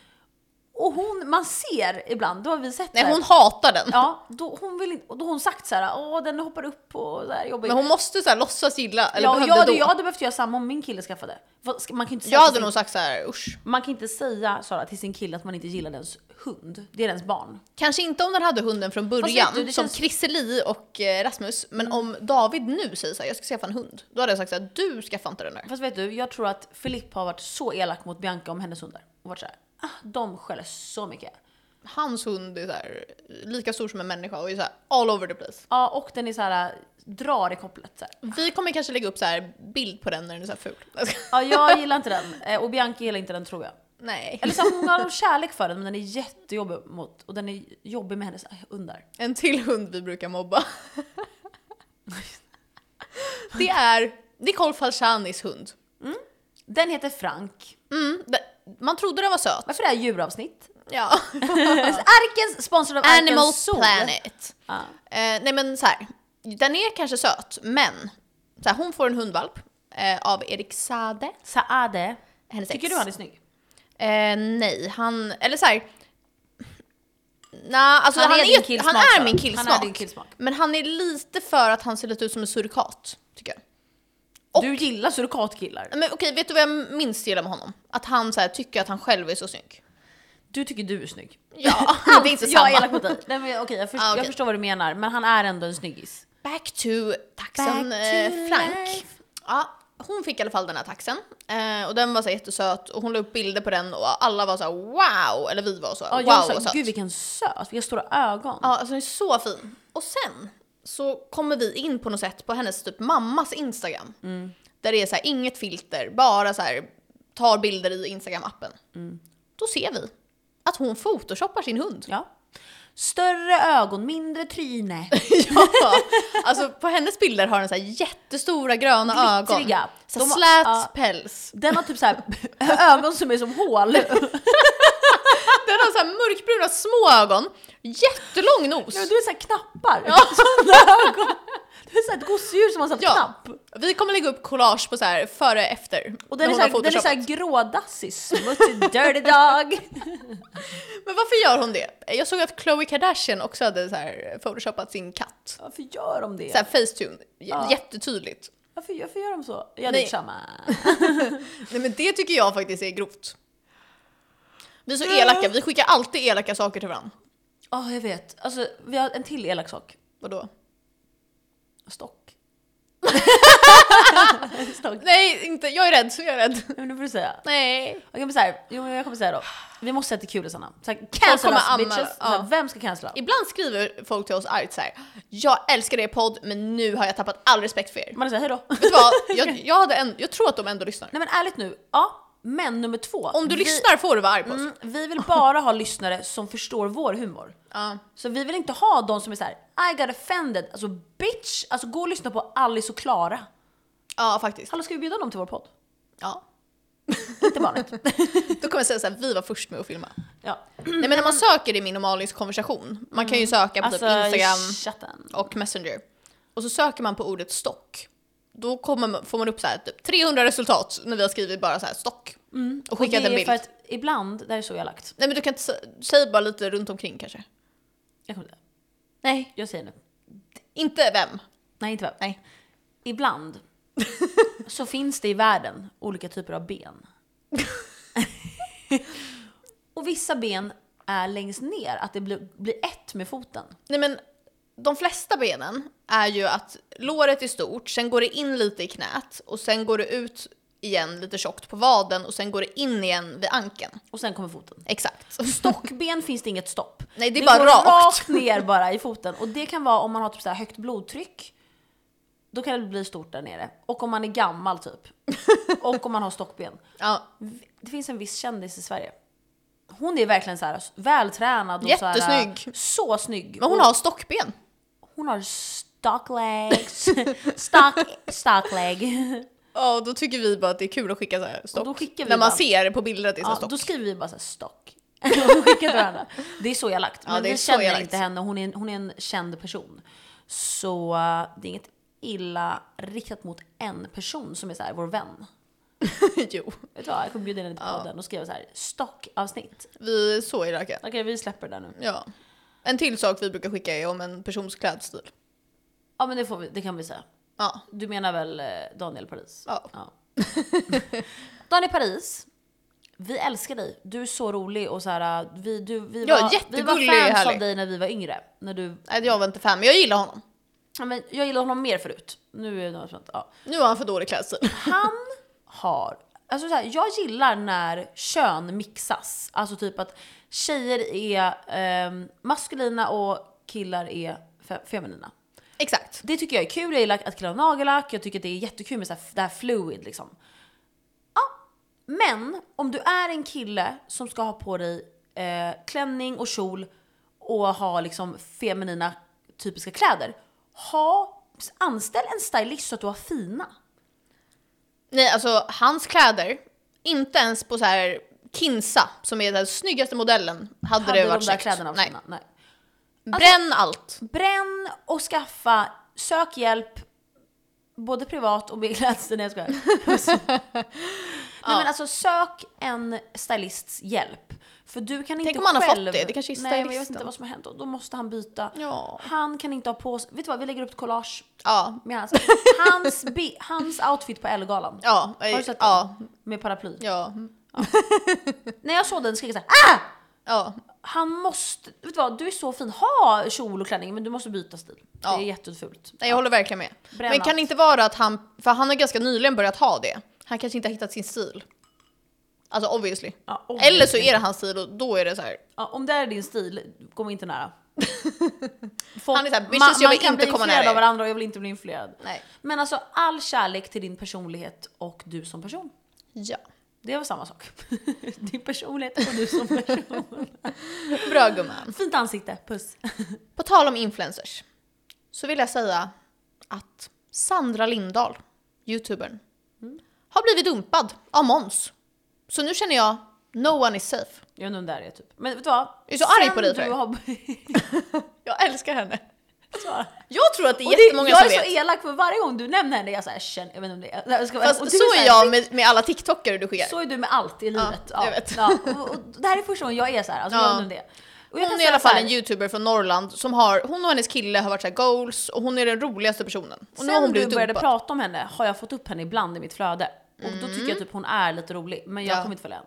A: Och hon, man ser ibland, då har vi sett
B: Nej
A: så här-
B: hon hatar den.
A: Ja, då, hon vill inte, och då har hon sagt så här, åh den hoppar upp och så här jobbigt.
B: Men hon måste så här, låtsas gilla, eller
A: ja,
B: behövde
A: jag, hade,
B: då.
A: jag hade behövt göra samma om min kille skaffade. Vad ska- Man kan ju inte säga,
B: jag
A: till
B: hade
A: sin,
B: nog sagt så här: usch.
A: man kan inte säga Sara, till sin kille att man inte gillar dens hund. Det är dens barn.
B: Kanske inte om den hade hunden från början,
A: vet du, det
B: som
A: känns- Mm.
B: Chrisseli och eh, Rasmus. Men om David nu säger såhär, jag ska skaffa en hund. Då hade jag sagt såhär, du skaffar inte den där.
A: Fast vet du, jag tror att Filipp har varit så elak mot Bianca om hennes hundar. Och varit så här, ah, de skäller så mycket.
B: Hans hund är såhär, lika stor som en människa och är såhär all over the place.
A: Ja, och den är så här, drar i kopplet. Så här.
B: Vi kommer kanske lägga upp så här bild på den när den är såhär ful.
A: Ja, jag gillar inte den. Eh, Och Bianca gillar inte den tror jag.
B: Nej.
A: Eller så här, hon har en kärlek för den men den är jättejobbig mot, och den är jobbig med hennes eh, hundar.
B: En till hund vi brukar mobba. Det är Nicole Falcianis hund.
A: Den heter Frank.
B: Mm, det- man trodde den var söt.
A: Varför är det här djuravsnitt?
B: Ja.
A: Arkens, sponsrad av Arkens
B: Animal
A: Zoo.
B: Planet.
A: Ja.
B: Eh, nej men så här. den är kanske söt, men så här, hon får en hundvalp eh, av Erik Sade.
A: Saade.
B: Hennes
A: Tycker
B: ex.
A: du han är snygg?
B: Eh, nej, han, eller så här. Nej, alltså han,
A: din
B: är,
A: killsmak,
B: han är
A: Sara.
B: min killsmak.
A: Han är din killsmak.
B: Men han är lite för att han ser lite ut som en surikat, tycker jag. Och-
A: Du gillar surrogatkillar.
B: Men okej, vet du vad jag minst gillar med honom? Att han så här, tycker att han själv är så snygg.
A: Du tycker du är snygg.
B: Ja, det är inte
A: jag är
B: samma.
A: elak mot dig. Nej, men, okej, jag, först,
B: Ah, okej.
A: jag förstår vad du menar, men han är ändå en snyggis.
B: Back to taxen
A: Back
B: eh,
A: to
B: Frank.
A: life.
B: Ja, hon fick i alla fall den här taxen. Eh, och den var så här jättesöt och hon la upp bilder på den och alla var så här wow! Eller vi var så här,
A: Ja, jag
B: wow vad
A: sa,
B: söt.
A: gud vilken söt, vilka stora ögon.
B: Ja, alltså den är så fin. Och sen så kommer vi in på något sätt på hennes typ mammas Instagram.
A: Mm.
B: Där det är så här, inget filter, bara så här tar bilder i Instagram-appen.
A: Mm.
B: Då ser vi att hon photoshoppar sin hund.
A: Ja. Större ögon, mindre tryne.
B: Ja, alltså på hennes bilder har den så här jättestora gröna
A: Glittriga.
B: ögon. Så här
A: De har-
B: slät
A: ja.
B: päls.
A: Den har typ så här, ögon som är som hål.
B: Den har så här mörkbruna små ögon, jättelång nos.
A: Du är så här knappar.
B: Ja.
A: Sådana ögon. Du är så här ett gosedjur som har satt
B: Ja,
A: knapp.
B: vi kommer lägga upp collage på så här före och efter.
A: Och
B: när
A: den är,
B: hon
A: så här,
B: har
A: den är så
B: photoshopat.
A: här grådassig, smutsig, dirty dog.
B: Men varför gör hon det? Jag såg att Khloe Kardashian också hade så här photoshopat sin katt.
A: Varför gör de det?
B: Så här facetune, J-
A: Ja.
B: jättetydligt.
A: Varför, varför gör de så? Jag
B: Nej.
A: är samma.
B: Nej men det tycker jag faktiskt är grovt. Vi är så elaka, vi skickar alltid elaka saker till varandra.
A: Ja, jag vet. Alltså, vi har en till elak sak.
B: Vadå?
A: Stock. Stock. Nej,
B: Nej, inte, jag är rädd, så jag är rädd.
A: men nu får du säga.
B: Nej.
A: Jag kommer säga, jo men jag kommer säga då. Vi måste säga till kulisarna. Så här,
B: kommer
A: Cancel us
B: anmäla,
A: bitches. Så
B: ja.
A: här, vem ska cancella?
B: Ibland skriver folk till oss argt så här. jag älskar er podd men nu har jag tappat all respekt för er.
A: Man säger hejdå.
B: Vet du vad? Jag, jag, hade en, jag tror att de ändå lyssnar.
A: Nej men ärligt nu, ja. Men nummer två.
B: Om du
A: vi,
B: lyssnar får du vara arg på oss.
A: Mm, vi vill bara ha lyssnare som förstår vår humor.
B: Ja.
A: Så vi vill inte ha de som är så här: I got offended. Alltså bitch, alltså gå och lyssna på Alice och Klara.
B: ja, faktiskt.
A: Hallå ska vi bjuda dem till vår podd?
B: Ja.
A: Inte barnet.
B: Då kommer jag säga såhär, vi var först med att filma.
A: ja.
B: Nej men när man söker i min och Malins konversation, man kan ju söka på
A: Alltså
B: typ Instagram
A: i chatten.
B: och Messenger. Och så söker man på ordet stock. Då kommer man, får man upp så här, typ 300 resultat när vi har skrivit bara så här stock. Och
A: Mm. Och det
B: skickat en
A: är
B: bild.
A: för att ibland, det här är så jag lagt.
B: Nej men du kan inte, sä- säg bara lite runt omkring kanske.
A: Jag, kommer inte,
B: Nej.
A: jag säger nu.
B: Inte vem.
A: Nej inte vem.
B: Nej.
A: Ibland så finns det i världen olika typer av ben. och vissa ben är längst ner, att det blir, blir ett med foten.
B: Nej men de flesta benen är ju att låret är stort, sen går det in lite i knät och sen går det ut igen lite tjockt på vaden och sen går det in igen vid ankeln.
A: Och sen kommer foten.
B: Exakt.
A: Stockben finns det inget stopp.
B: Nej, det är bara
A: går
B: rakt.
A: ner bara i foten. Och det kan vara om man har typ så här högt blodtryck. Då kan det bli stort där nere. Och om man är gammal typ. Och om man har stockben.
B: Ja,
A: Det finns en viss kändis i Sverige. Hon är verkligen så här vältränad och Så, här,
B: Jättesnygg.
A: så snygg.
B: men hon
A: Och
B: har stockben.
A: hon har stock legs. stock, stock leg.
B: Ja, och då tycker vi bara att det är kul att skicka så här stock.
A: Och då skickar vi
B: När man
A: bara-
B: ser på bilder att det är så här
A: Ja,
B: stock.
A: då skriver vi bara så här stock. Och skickar till varandra. Det är så jag lagt. Men
B: det är
A: vi
B: så
A: känner
B: jag lagt.
A: inte henne, hon är, en- hon är en känd person. Så eh, det är inget illa riktat mot en person som är så här, vår vän.
B: jo.
A: Vet du vad, jag kommer bjuda in henne till
B: Ja.
A: podden och skriva så här stockavsnitt.
B: Vi är så elaka.
A: Okej, vi släpper det där nu.
B: Ja. En till sak vi brukar skicka är om en persons klädstil.
A: Ja men det, får vi, det kan vi säga.
B: Ja.
A: Du menar väl eh, Daniel Paris?
B: Ja.
A: Daniel Paris, vi älskar dig. Du är så rolig och så här, eh, vi, du, vi,
B: Ja,
A: var, vi
B: jättegullig och
A: var fans av
B: härlig.
A: dig när vi var yngre. När du,
B: Nej, jag var inte fan, men jag gillar honom.
A: ja, men jag gillade honom mer förut. Nu är det något sånt, ja.
B: Nu har han för dålig klädstil.
A: han har... Alltså så här, jag gillar när kön mixas. Alltså typ att tjejer är ehm, maskulina och killar är fe- feminina.
B: Exakt.
A: Det tycker jag är kul, jag gillar att killar har nagellack, jag tycker att det är jättekul med så här, det här fluid liksom. Ja, men om du är en kille som ska ha på dig eh, klänning och kjol och ha liksom feminina typiska kläder. Ha, anställ en stylist så att du har fina.
B: Nej, alltså hans kläder, inte ens på så här Kinsa, som är den snyggaste modellen, hade,
A: Hade
B: det
A: de där
B: varit snyggt.
A: kläderna Alltså- varit fina?
B: Nej.
A: Nej.
B: Bränn allt.
A: Bränn och skaffa, sök hjälp, både privat och med klädstil. Nej jag skojar. Nej men alltså sök en stylists hjälp. För du kan inte
B: om han har fått
A: själv...
B: det, det kanske är
A: Nej men jag vet
B: stylisten.
A: inte vad som har hänt och då måste han byta.
B: Ja.
A: Han kan inte ha på sig, vet du vad vi lägger upp ett collage
B: Ja.
A: med hans, hans, bi- hans outfit på Ellegalan.
B: Ja.
A: Har du sett
B: ja.
A: den? Med paraply.
B: Ja.
A: När jag såg den skrek jag såhär ah!
B: Ja.
A: Han måste, vet du vad, du är så fin, ha kjol och klänning men du måste byta stil.
B: Ja.
A: Det är jättefult.
B: Nej, jag håller verkligen med.
A: Bränn
B: Men kan
A: allt.
B: det inte vara att han, för han har ganska nyligen börjat ha det. Han kanske inte har hittat sin stil. Alltså obviously.
A: Ja,
B: Eller så är det hans stil och då är det så här.
A: Ja, om det är din stil, gå inte nära. Folk,
B: Han är såhär,
A: ma-
B: "Bitches, jag
A: man
B: vill
A: kan
B: inte
A: bli
B: komma nära
A: influerad av
B: er."
A: varandra och jag vill inte bli influerad.
B: Nej.
A: Men alltså all kärlek till din personlighet och du som person.
B: Ja.
A: Det var samma sak. din personlighet och du som person.
B: Bra gumman.
A: Fint ansikte, puss.
B: På tal om influencers. Så vill jag säga att Sandra Lindahl, youtubern, har blivit dumpad av Måns. Så nu känner jag, no one is safe.
A: Jag undrar om det här är typ. Men vet du vad?
B: Jag är så arg
A: Sen
B: på dig,
A: du
B: tror jag.
A: har...
B: Jag älskar henne.
A: Så-
B: Jag tror att det är
A: och det,
B: jättemånga
A: jag
B: som
A: är så
B: vet.
A: elak för varje gång du nämner henne, jag såhär känner, jag vet inte om det är... Jag ska vara- och
B: Fast
A: du
B: så
A: såhär,
B: är jag med, med alla tiktokare du skickar.
A: Så är du med allt i livet.
B: jag vet.
A: Och, och, det här är första gången jag är såhär, alltså
B: Ja.
A: jag undrar om det. Och jag kan
B: Hon är i
A: säga
B: alla
A: så
B: fall
A: här-
B: en youtuber från Norrland som har, hon och hennes kille har varit så här goals och hon är den roligaste personen. Och nu har
A: Sen
B: hon
A: du
B: blivit
A: började
B: dumpad.
A: prata om henne har jag fått upp henne ibland i mitt flöde. Och då tycker jag typ hon är lite rolig, men jag
B: Mm. Ja.
A: kommer inte följa henne.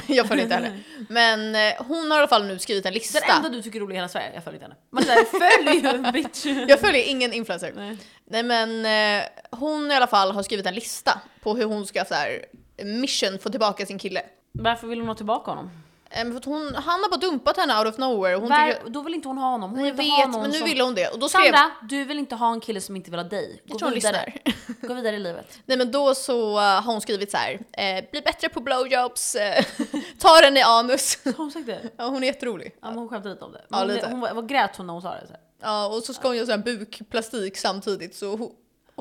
B: jag följer inte heller. Men eh, hon har i alla fall nu skrivit en lista.
A: Den enda du tycker är rolig i hela Sverige, jag följer inte henne. Man säger följ ju bitch!
B: Jag följer ingen influencer.
A: Nej.
B: Nej. men eh, hon i alla fall har skrivit en lista på hur hon ska så här, mission få tillbaka sin kille.
A: Varför vill hon ha tillbaka honom?
B: Eh, men för att hon, han har bara dumpat henne out of nowhere. och Hon
A: Var,
B: tycker,
A: då vill inte hon ha honom. Hon vill
B: jag
A: inte ha
B: vet,
A: någon
B: men nu
A: som...
B: ville hon det. Och då skrev,
A: Sandra, du vill inte ha en kille som inte vill ha dig. Gå
B: jag tror hon
A: vidare.
B: lyssnar.
A: Gå vidare i livet.
B: Nej men då så eh, har hon skrivit så här, eh, bli bättre på blowjobs, eh, ta den i anus.
A: Har hon sagt det?
B: Ja, hon är jätterolig.
A: Ja, men hon skämtade lite om det.
B: Ja,
A: Men hon,
B: lite.
A: hon, var- vad grät hon när hon sa det? Så här.
B: Ja, och så ska hon göra sån här bukplastik samtidigt så hon,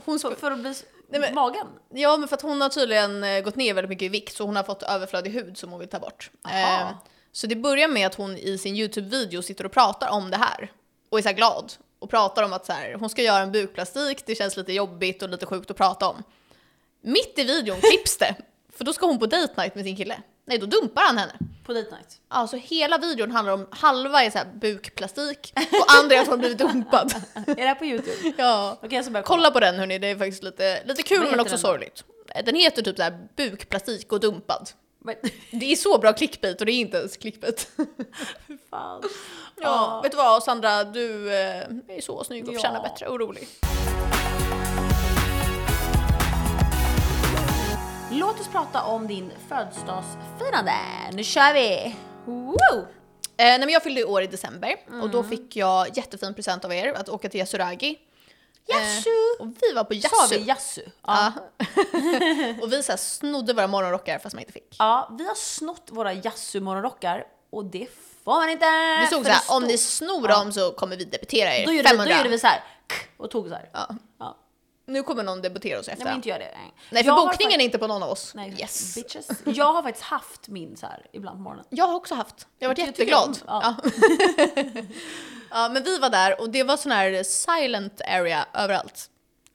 B: hon ska,
A: För, för att bli... s-
B: Nej, men-
A: Magen?
B: Ja, men för att hon har tydligen eh, gått ner väldigt mycket i vikt så hon har fått överflödig hud som hon vill ta bort.
A: Aha.
B: Eh, så det börjar med att hon i sin YouTube-video sitter och pratar om det här och är så här glad och pratar om att så här, hon ska göra en bukplastik, det känns lite jobbigt och lite sjukt att prata om. Mitt i videon klipps det, för då ska hon på date night med sin kille. Nej, då dumpar han henne.
A: På date night?
B: Alltså hela videon handlar om, halva är så här bukplastik och andra är att hon har blivit dumpad.
A: Är det här på youtube?
B: Ja.
A: Okej jag ska börja
B: Kolla på den hörni, det är faktiskt lite, lite kul
A: Vad
B: men
A: heter
B: också
A: den då?
B: sorgligt. Den heter typ såhär bukplastik och dumpad.
A: Men,
B: Det är så bra clickbait och det är inte ens clickbait.
A: Fy fan. Ah.
B: Ja, vet du vad Sandra, du eh, är så snygg och förtjänar
A: Ja.
B: bättre och rolig. Eh,
A: Låt oss prata om din födelsedagsfirande. Nu kör vi! Wow!
B: Eh, nej men jag fyllde ju år i december och
A: Mm.
B: då fick jag jättefin present av er att åka till Yasuragi.
A: Yasu!
B: och vi var på
A: Sa
B: Eh, Yasu.
A: vi Yasu? Ja.
B: Ja. och vi så här snodde våra morgonrockar fast man inte fick.
A: ja. Vi har snott våra Yasu morgonrockar och det får man inte!
B: Vi såg
A: Äh, För
B: såhär,
A: det
B: om ni
A: stod-
B: snor
A: Ja.
B: dem så kommer vi debitera er
A: Då gjorde, vi,
B: 500.
A: då gjorde vi så här k- och tog så här.
B: Ja.
A: Ja.
B: Nu kommer någon debitera oss efter.
A: Nej men inte gör det. Nej,
B: Nej för
A: Jag har
B: bokningen
A: fakt-
B: är inte på någon av oss.
A: Nej,
B: yes.
A: bitches. Jag har faktiskt haft min så här ibland på morgonen.
B: Jag har också haft. Jag har varit
A: Jag tycker
B: jätteglad.
A: om-
B: Ja. ja men vi var där och det var sån här silent area överallt.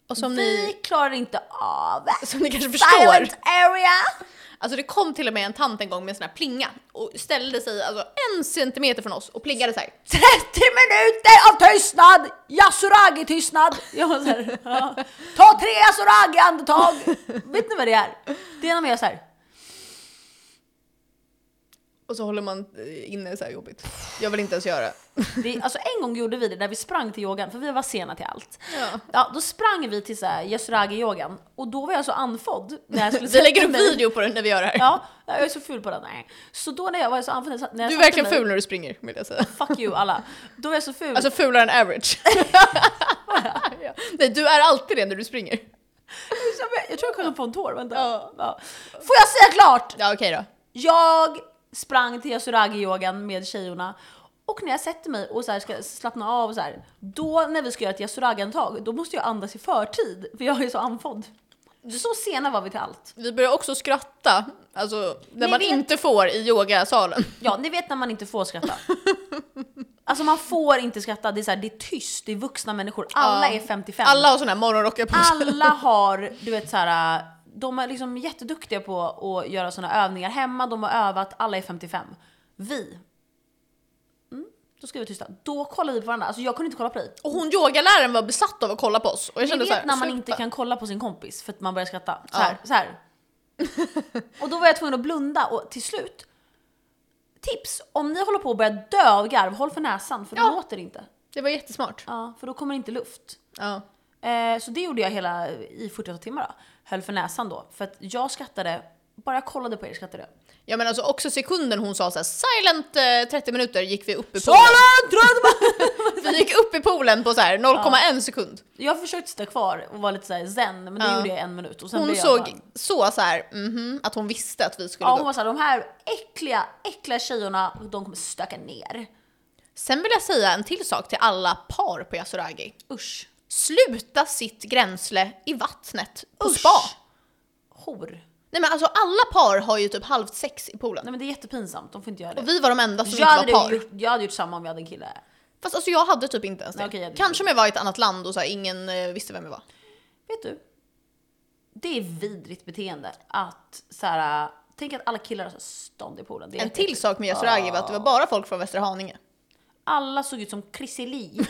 B: Och som
A: Vi
B: ni,
A: klarar inte av
B: som ni kanske förstår.
A: silent area.
B: Alltså det kom till och med en tant en gång med en sån här plinga och ställde sig alltså en centimeter från oss och plingade så här.
A: 30 minuter av tystnad! Yasuragi-tystnad! Jag var så här, ja. Ta tre yasuragi-andetag! Vet ni vad det är? Det är när man gör så här.
B: Och så håller man eh, inne så här jobbigt. Jag vill inte ens göra.
A: Vi, alltså en gång gjorde vi det när vi sprang till yogan, för vi var sena till allt.
B: Ja.
A: Ja, då sprang vi till så här yasuragi-yogan och då var jag så andfådd när jag skulle
B: Vi lägger
A: sätta
B: upp
A: mig.
B: video på det när vi gör det här.
A: Ja, jag är så ful på den. Nej. Så då när jag var så andfådd när jag
B: du är
A: satte
B: verkligen
A: mig-
B: ful när du springer vill jag säga.
A: Fuck you alla. Då var jag så ful.
B: Alltså fulare än average. ja. Nej du är alltid det när du springer.
A: jag tror jag kollade på en tår, vänta.
B: Ja.
A: Ja. Får jag säga klart?
B: Ja okej då.
A: Jag sprang till yasuragi-yogan med tjejerna och när jag sätter mig och så här ska slappna av och så här, då när vi ska göra ett yasuragi-antag, då måste jag andas i förtid för jag är så andfådd. Så sena var vi till allt.
B: Vi börjar också skratta, alltså när
A: Nej,
B: man
A: vi-
B: inte får i yogasalen.
A: Ja, ni vet när man inte får skratta. Alltså man får inte skratta, det är, så här, det är tyst, det är vuxna människor, alla
B: Ja.
A: är 55.
B: Alla har såna här morgonrockar på sig.
A: Alla har, du vet så här, de är liksom jätteduktiga på att göra såna övningar hemma, de har övat, alla är 55. Vi. Mm, då ska vi vara tysta. Då kollar vi på varandra, alltså jag kunde inte kolla på dig.
B: Och hon yogaläraren var besatt av att kolla på oss. Och jag
A: Ni
B: kände
A: vet
B: så här,
A: när man
B: sluta.
A: inte kan kolla på sin kompis för att man börjar skratta. Så
B: Ja.
A: här, så här. Och då var jag tvungen att blunda och till slut, tips! Om ni håller på att börja dö av garv, håll för näsan för
B: Ja.
A: då låter det inte.
B: Det var jättesmart.
A: Ja, för då kommer det inte luft.
B: Ja.
A: Eh, så det gjorde jag hela i 48 timmar då. Höll för näsan då. För att jag skrattade, bara jag kollade på er skrattade jag.
B: ja men alltså också sekunden hon sa så här, silent eh, 30 minuter gick vi upp i poolen.
A: Salen! Drömma!
B: Vi gick upp i poolen på så här 0,1 sekund.
A: Jag försökte sitta kvar och vara lite såhär zen, men det
B: Ja.
A: gjorde jag i en minut. Och sen
B: Hon
A: blev jag bara-
B: såg så så här, mhm, att hon visste att vi skulle
A: Ja
B: gå
A: hon var såhär, de här äckliga, äckliga tjejerna, de kommer stöka ner.
B: Sen vill jag säga en till sak till alla par på Yasuragi.
A: Usch.
B: Sluta sitt gränsle i vattnet på
A: Usch.
B: spa.
A: Hor.
B: Nej men alltså alla par har ju typ halvt sex i poolen.
A: Nej men det är jättepinsamt, de får inte göra det.
B: Och vi var de enda som
A: Jag hade,
B: inte var par.
A: gjort, jag hade gjort samma om jag hade en kille.
B: Fast alltså jag hade typ inte ens det.
A: Nej, okej, jag hade
B: Kanske om jag var i ett annat land och så här, ingen eh, visste vem jag var.
A: Vet du? Det är vidrigt beteende att såhär, tänk att alla killar har så här stånd i poolen. Det är
B: En till
A: jätteäckligt.
B: sak med Yasuragi var att det
A: Ah.
B: var bara folk från Västra Haninge.
A: Alla såg ut som Chrissie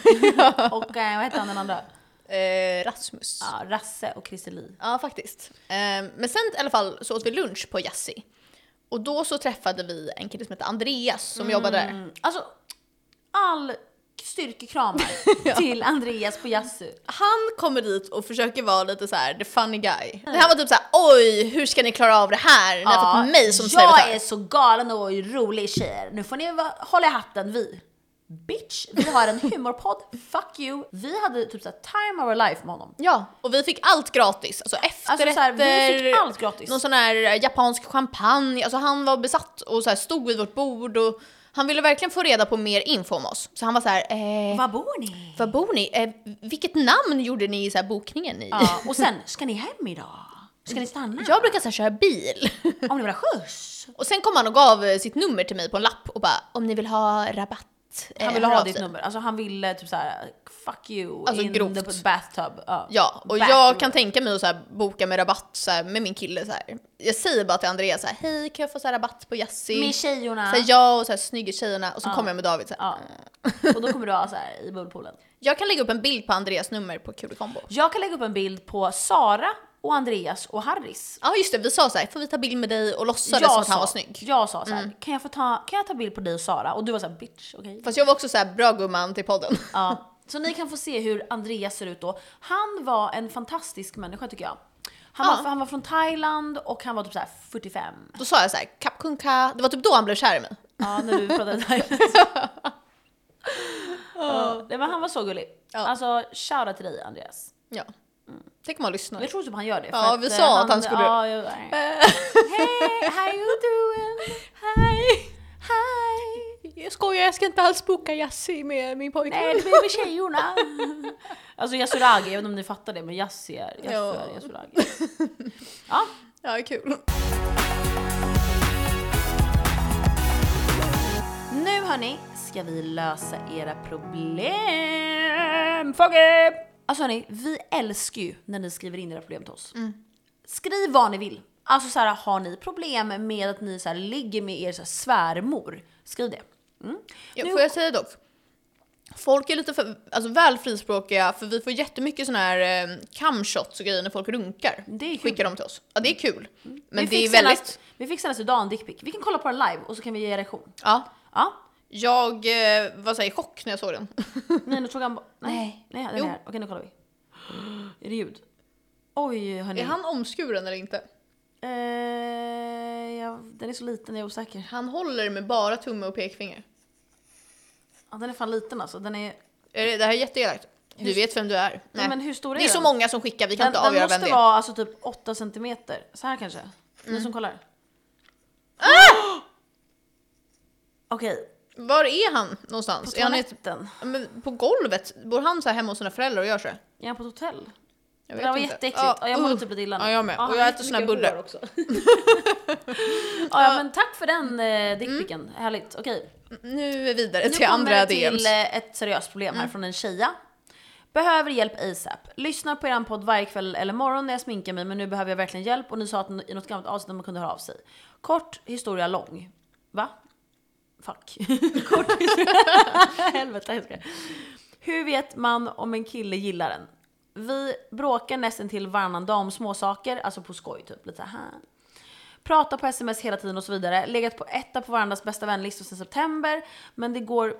A: och eh, vad hette han den andra?
B: Eh, Rasmus.
A: Ja, Rasse och Chrissie Li.
B: Ja, faktiskt. Ehm, men sen i alla fall så åt vi lunch på Yassi. Och då så träffade vi en kille som hette Andreas som jobbade där.
A: Mm. Alltså, all styrkekramar till Andreas på Yasu.
B: Han kommer dit och försöker vara lite så här the funny guy. Han var typ så här: oj hur ska ni klara av det här? Ni har fått mig som
A: jag
B: servitör.
A: är så galen och rolig tjejer. Nu får ni va- hålla i hatten vi. Bitch, vi har en humorpodd, fuck you. Vi hade typ såhär time of our life med honom.
B: Ja, och vi fick allt gratis. Alltså efterrätter,
A: Alltså så här, vi fick allt gratis.
B: någon sån här eh, japansk champagne. Alltså han var besatt och så här stod vid vårt bord och han ville verkligen få reda på mer info om oss. Så han var så här, eh,
A: Var bor ni?
B: var bor ni? Eh, vilket namn gjorde ni i så här bokningen i?
A: Ja, och sen, ska ni hem idag? Ska ni stanna?
B: Jag brukar så här köra bil.
A: Om ni vill ha skjuts?
B: Och sen kom han och gav eh, sitt nummer till mig på en lapp och bara om ni vill ha rabatt. eh,
A: Han ville
B: hör
A: ha
B: av
A: ditt
B: sig."
A: nummer, alltså han ville typ såhär fuck you
B: Alltså,
A: in
B: grovt.
A: the bathtub. Ja,
B: Ja, och
A: Bathroom.
B: jag kan tänka mig att så här, boka med rabatt så här, med min kille så här. Jag säger bara till Andreas så här, hej kan jag få så här, rabatt på Yassi?
A: Med tjejorna.
B: Så här, jag och så här, snygga tjejerna och så kommer jag med David så här.
A: Ja. Och då kommer du ha såhär i bullpoolen.
B: Jag kan lägga upp en bild på Andreas nummer på Kul Combo.
A: Jag kan lägga upp en bild på Sara och Andreas och Harris.
B: Ja just det, vi sa så här, får vi ta bild med dig och låtsades
A: Jag
B: som att
A: sa-
B: han var snygg? Mm.
A: Jag sa såhär, kan, jag få ta, kan jag ta bild på dig och Sara? Och du var såhär bitch, okej?
B: Fast jag var också så här, bra gumman till podden.
A: Ja. Så ni kan få se hur Andreas ser ut då. Han var en fantastisk människa tycker jag. Han,
B: Ja.
A: var, han var från Thailand och han var typ såhär 45.
B: Då sa jag så här, kapkunka, det var typ då han blev kär i mig.
A: Ja, när du pratade thailändska. Ja, nej, men han var så gullig.
B: Ja.
A: Alltså, shoutout till dig Andreas.
B: Ja. Tänk om han lyssnar.
A: Jag tror typ han gör det. för
B: Ja, vi
A: eh,
B: sa att han skulle- Eh.
A: Ja, jag, Hey, how you doing?
B: Hej!
A: Hi!
B: Jag skojar, jag ska inte alls boka Yassi med min pojkvän.
A: Nej, det blir med tjejorna. Alltså Yasuragi, jag vet inte om ni fattar det, men Yassi är
B: Ja.
A: Yasu är Yasuragi. Ja,
B: Ja, kul.
A: nu hörni ska vi lösa era problem. Fogge! Alltså hörni, vi älskar ju när ni skriver in era problem till oss.
B: Mm.
A: Skriv vad ni vill. Alltså så här, har ni problem med att ni så här, ligger med er så här, svärmor? Skriv det. Mm.
B: Ja,
A: Nu-
B: får jag säga dock? Folk är lite för, alltså väl frispråkiga för vi får jättemycket såna här eh, camshots och grejer när folk runkar.
A: Det är kul.
B: Skickar de till oss. Ja det är kul. Men
A: Vi
B: det är
A: fick
B: väldigt...
A: senast- Vi fick senast idag en dickpic. Vi kan kolla på den live och så kan vi ge reaktion.
B: Ja.
A: Ja.
B: Jag eh, var såhär i chock när jag såg den.
A: Nej, nu tog han bort... Nej. Nej, den är
B: Jo.
A: här. Okej, nu kollar vi. Är det ljud? Oj, hörni.
B: Är han omskuren eller inte?
A: Eh, ja, den är så liten, jag är osäker.
B: Han håller med bara tumme och pekfinger.
A: Ja, den är fan liten alltså. Den är...
B: Är det, det här är jätteelakt. Du vet vem du är.
A: Nej. Men hur stor är
B: det är
A: den?
B: så många som skickar, vi kan
A: den,
B: inte
A: den
B: avgöra
A: måste
B: vem det är. Mm.
A: vara alltså typ 8 centimeter. Så här kanske. Ni som kollar.
B: Ah!
A: Okej,
B: Var är han
A: på
B: någonstans? Är han i ett,
A: toaletten.
B: Ja, men på golvet? Bor han så här hemma hos sina föräldrar och gör så?
A: Är han på ett hotell?
B: Jag
A: Det där var
B: inte. Uh.
A: jätteäckligt. Ja, jag mår typ lite illa nu.
B: Ja, jag med.
A: Ja,
B: och
A: han
B: jag
A: har
B: äter såna här
A: jättemycket
B: bullar.
A: hår också. ja, ja, men tack för den eh, dickpicken.
B: Mm.
A: Härligt. Okej.
B: Nu är vidare
A: Nu
B: till andra Mm.
A: kommer det
B: DMs.
A: till eh, ett seriöst problem här från en tjeja. Behöver hjälp ASAP. Lyssnar på er podd varje kväll eller morgon när jag sminkar mig men nu behöver jag verkligen hjälp och ni sa att i något gammalt avsnitt att man kunde höra av sig. Kort historia lång. Va? Fuck. Kort historia. Helvete, jag skojar. Hur vet man om en kille gillar en? Vi bråkar nästan till varannan dag om småsaker, alltså på skoj typ. Lite så här. Pratar på sms hela tiden och så vidare. Legat på etta på varandras bästa vänlistor sedan september. Men det går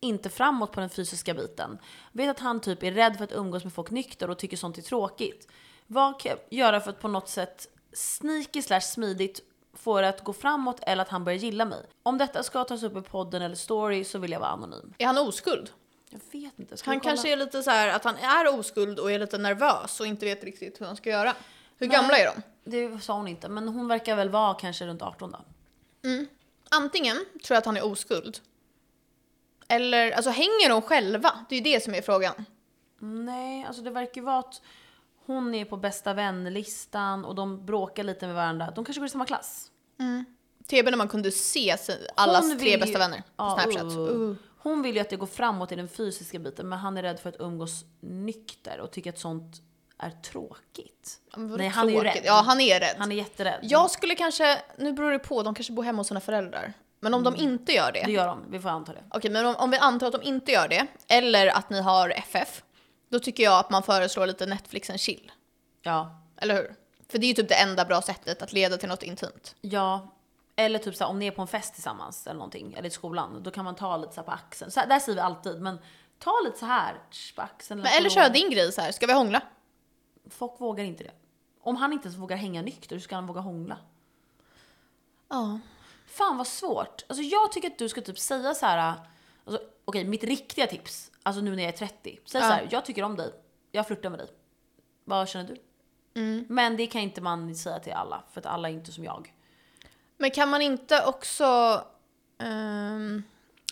A: inte framåt på den fysiska biten. Vet att han typ är rädd för att umgås med folk nykter och tycker sånt är tråkigt. Vad kan jag göra för att på något sätt sneaky slash smidigt få det att gå framåt eller att han börjar gilla mig? Om detta ska tas upp i podden eller story så vill jag vara anonym.
B: Är han oskuld?
A: Jag vet inte. Ska vi
B: Han
A: kolla?
B: kanske är lite så här att han är oskuld och är lite nervös och inte vet riktigt hur han ska göra. Hur gamla är de?
A: Det sa hon inte, men hon verkar väl vara kanske runt 18 då.
B: Antingen tror jag att han är oskuld. Eller, alltså hänger de själva? Det är ju det som är frågan.
A: Nej, alltså det verkar ju vara att hon är på bästa vänlistan och de bråkar lite med varandra. De kanske går i samma klass.
B: TB när man kunde se sin- allas
A: vill
B: tre
A: ju-
B: bästa vänner på
A: Ja,
B: Snapchat.
A: uh.
B: Uh.
A: Hon vill ju att det går framåt i den fysiska biten men han är rädd för att umgås nykter och tycker att sånt är tråkigt.
B: Men vadå
A: Nej, han är ju
B: Mm. tråkigt.
A: rädd.
B: Ja, han är rädd.
A: Han är jätterädd.
B: Jag skulle kanske, nu beror det på, de kanske bor hemma hos sina föräldrar. Men om de inte gör det,
A: Mm. Det gör de, vi får anta det.
B: Okej, men om, om vi antar att de inte gör det, eller att ni har FF, då tycker jag att man föreslår lite Netflix and chill.
A: Ja.
B: Eller hur? För det är ju typ det enda bra sättet att leda till något intimt.
A: Ja. Eller typ såhär, om ni är på en fest tillsammans eller någonting, eller i skolan, då kan man ta lite såhär på axeln. Så här, där säger vi alltid, men ta lite så här tsch, på axeln.
B: Men eller
A: på
B: kör
A: låren.
B: din grej så här. ska vi hångla?
A: Folk vågar inte det. Om han inte ens vågar hänga nykter, hur ska han våga hångla?
B: Ja.
A: Fan vad svårt. Alltså jag tycker att du ska typ säga så här. Alltså, okej, mitt riktiga tips, alltså nu när jag är 30. Säg
B: Ja.
A: så här, jag tycker om dig, jag flörtar med dig. Vad känner du?
B: Mm.
A: Men det kan inte man säga till alla, för att alla är inte som jag.
B: Men kan man inte också ehm,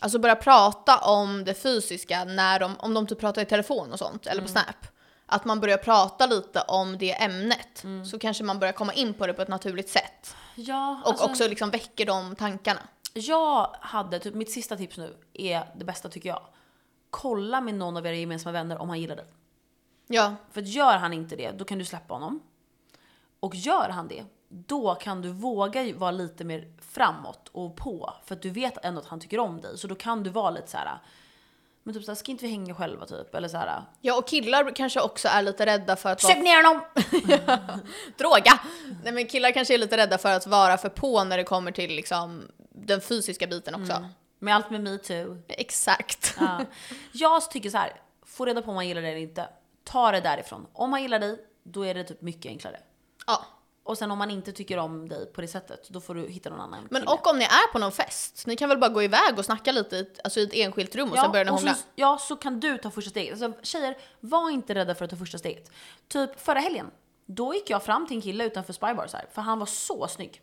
B: alltså börja prata om det fysiska när de, om de typ pratar i telefon och sånt, eller på Snap? Att man börjar prata lite om det ämnet, så kanske man börjar komma in på det på ett naturligt sätt.
A: Ja, alltså,
B: Och också liksom väcker de tankarna.
A: Jag hade, typ mitt sista tips nu är det bästa tycker jag. Kolla med någon av era gemensamma vänner om han gillar dig.
B: Ja,
A: För att gör han inte det, då kan du släppa honom. Och gör han det, då kan du våga ju vara lite mer framåt och på. För att du vet ändå att han tycker om dig. Så då kan du vara lite så här. men typ såhär, ska inte vi hänga själva typ? Eller såhär,
B: Ja, och killar kanske också är lite rädda för att vara...
A: sug ner honom!
B: Droga! Nej men killar kanske är lite rädda för att vara för på när det kommer till liksom den fysiska biten också.
A: Med allt med metoo.
B: Mm. Exakt.
A: Ja. Jag tycker så här. få reda på om han gillar dig eller inte. Ta det därifrån. Om han gillar dig, då är det typ mycket enklare.
B: Ja.
A: Och sen om man inte tycker om dig på det sättet, då får du hitta någon annan
B: Men
A: kille.
B: och om ni är på någon fest, ni kan väl bara gå iväg och snacka lite i, ett- alltså i ett enskilt rum och sen börjar ni
A: och
B: hångla.
A: Så, ja, så kan du ta första steget. Alltså, tjejer, var inte rädda för att ta första steget. Typ förra helgen, då gick jag fram till en kille utanför Spybar så här, för han var så snygg.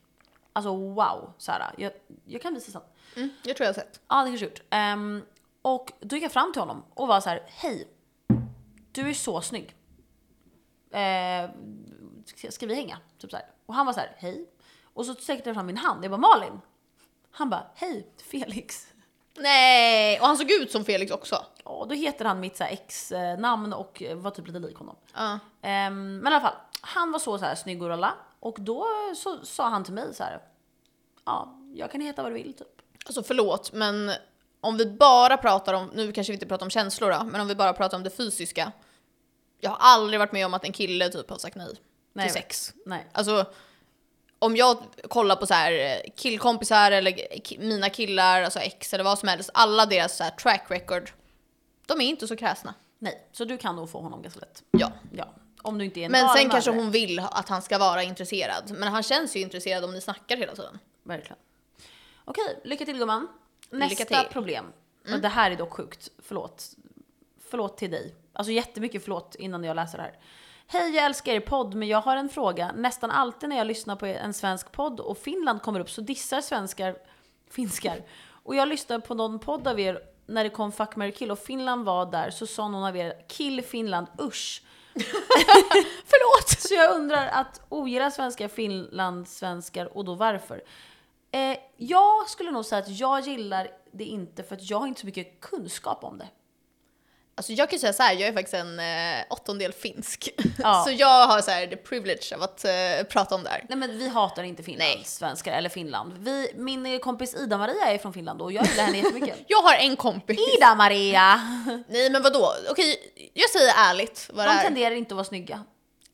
A: Alltså wow, så här, jag, jag kan visa sen.
B: Mm, jag tror jag har sett.
A: Ja, det kanske jag gjort. Ehm, och då gick jag fram till honom och var så här, hej, du är så snygg. Eh, ska, ska vi hänga? Typ så här. Och han var så här, hej. Och så sträckte jag fram min hand, jag bara Malin. Han bara, hej Felix.
B: Nej! Och han såg ut som Felix också.
A: Ja, då heter han mitt så här ex-namn och var typ lite lik honom.
B: Ja.
A: Ehm, men i alla fall, han var så, så här snygg och alla. Och då så sa han till mig så här. Ja, jag kan heta vad du vill typ.
B: Alltså förlåt, men om vi bara pratar om, nu kanske vi inte pratar om känslor då, men om vi bara pratar om det fysiska. Jag har aldrig varit med om att en kille typ har sagt nej,
A: Nej,
B: till sex.
A: Nej.
B: Alltså, om jag kollar på så här eh, killkompisar eller ki- mina killar, alltså ex eller vad som helst, alla deras så här track record, de är inte så kräsna.
A: Nej, så du kan nog få honom ganska lätt.
B: Ja.
A: Ja, om du inte är en
B: Men sen
A: galen
B: kanske
A: mördare.
B: hon vill ha- att han ska vara intresserad. Men han känns ju intresserad om ni snackar hela tiden.
A: Verkligen. Okej, lycka till gumman. Nästa
B: Lycka till. Mm.
A: problem. Och det här är dock sjukt, förlåt. Förlåt till dig. Alltså jättemycket förlåt innan jag läser det här. Hej, jag älskar er podd men jag har en fråga. Nästan alltid när jag lyssnar på en svensk podd och Finland kommer upp så dissar svenskar finskar. Och jag lyssnade på någon podd av er när det kom Fuck, marry, kill och Finland var där så sa någon av er kill Finland, usch.
B: Förlåt!
A: Så jag undrar att ogillar svenskar finlandssvenskar och då varför? Eh, jag skulle nog säga att jag gillar det inte för att jag har inte så mycket kunskap om det.
B: Alltså jag kan säga så här, jag är faktiskt en eh, åttondel finsk.
A: Ja.
B: så jag har så här the privilege av att eh, prata om det här.
A: Nej men vi hatar inte finlandssvenskar eller Finland. Vi, min kompis Ida-Maria är från Finland och jag gillar henne jättemycket.
B: Jag har en kompis.
A: Ida-Maria!
B: Nej men vadå? Okej, jag säger ärligt vad det
A: De
B: är.
A: tenderar inte att vara snygga.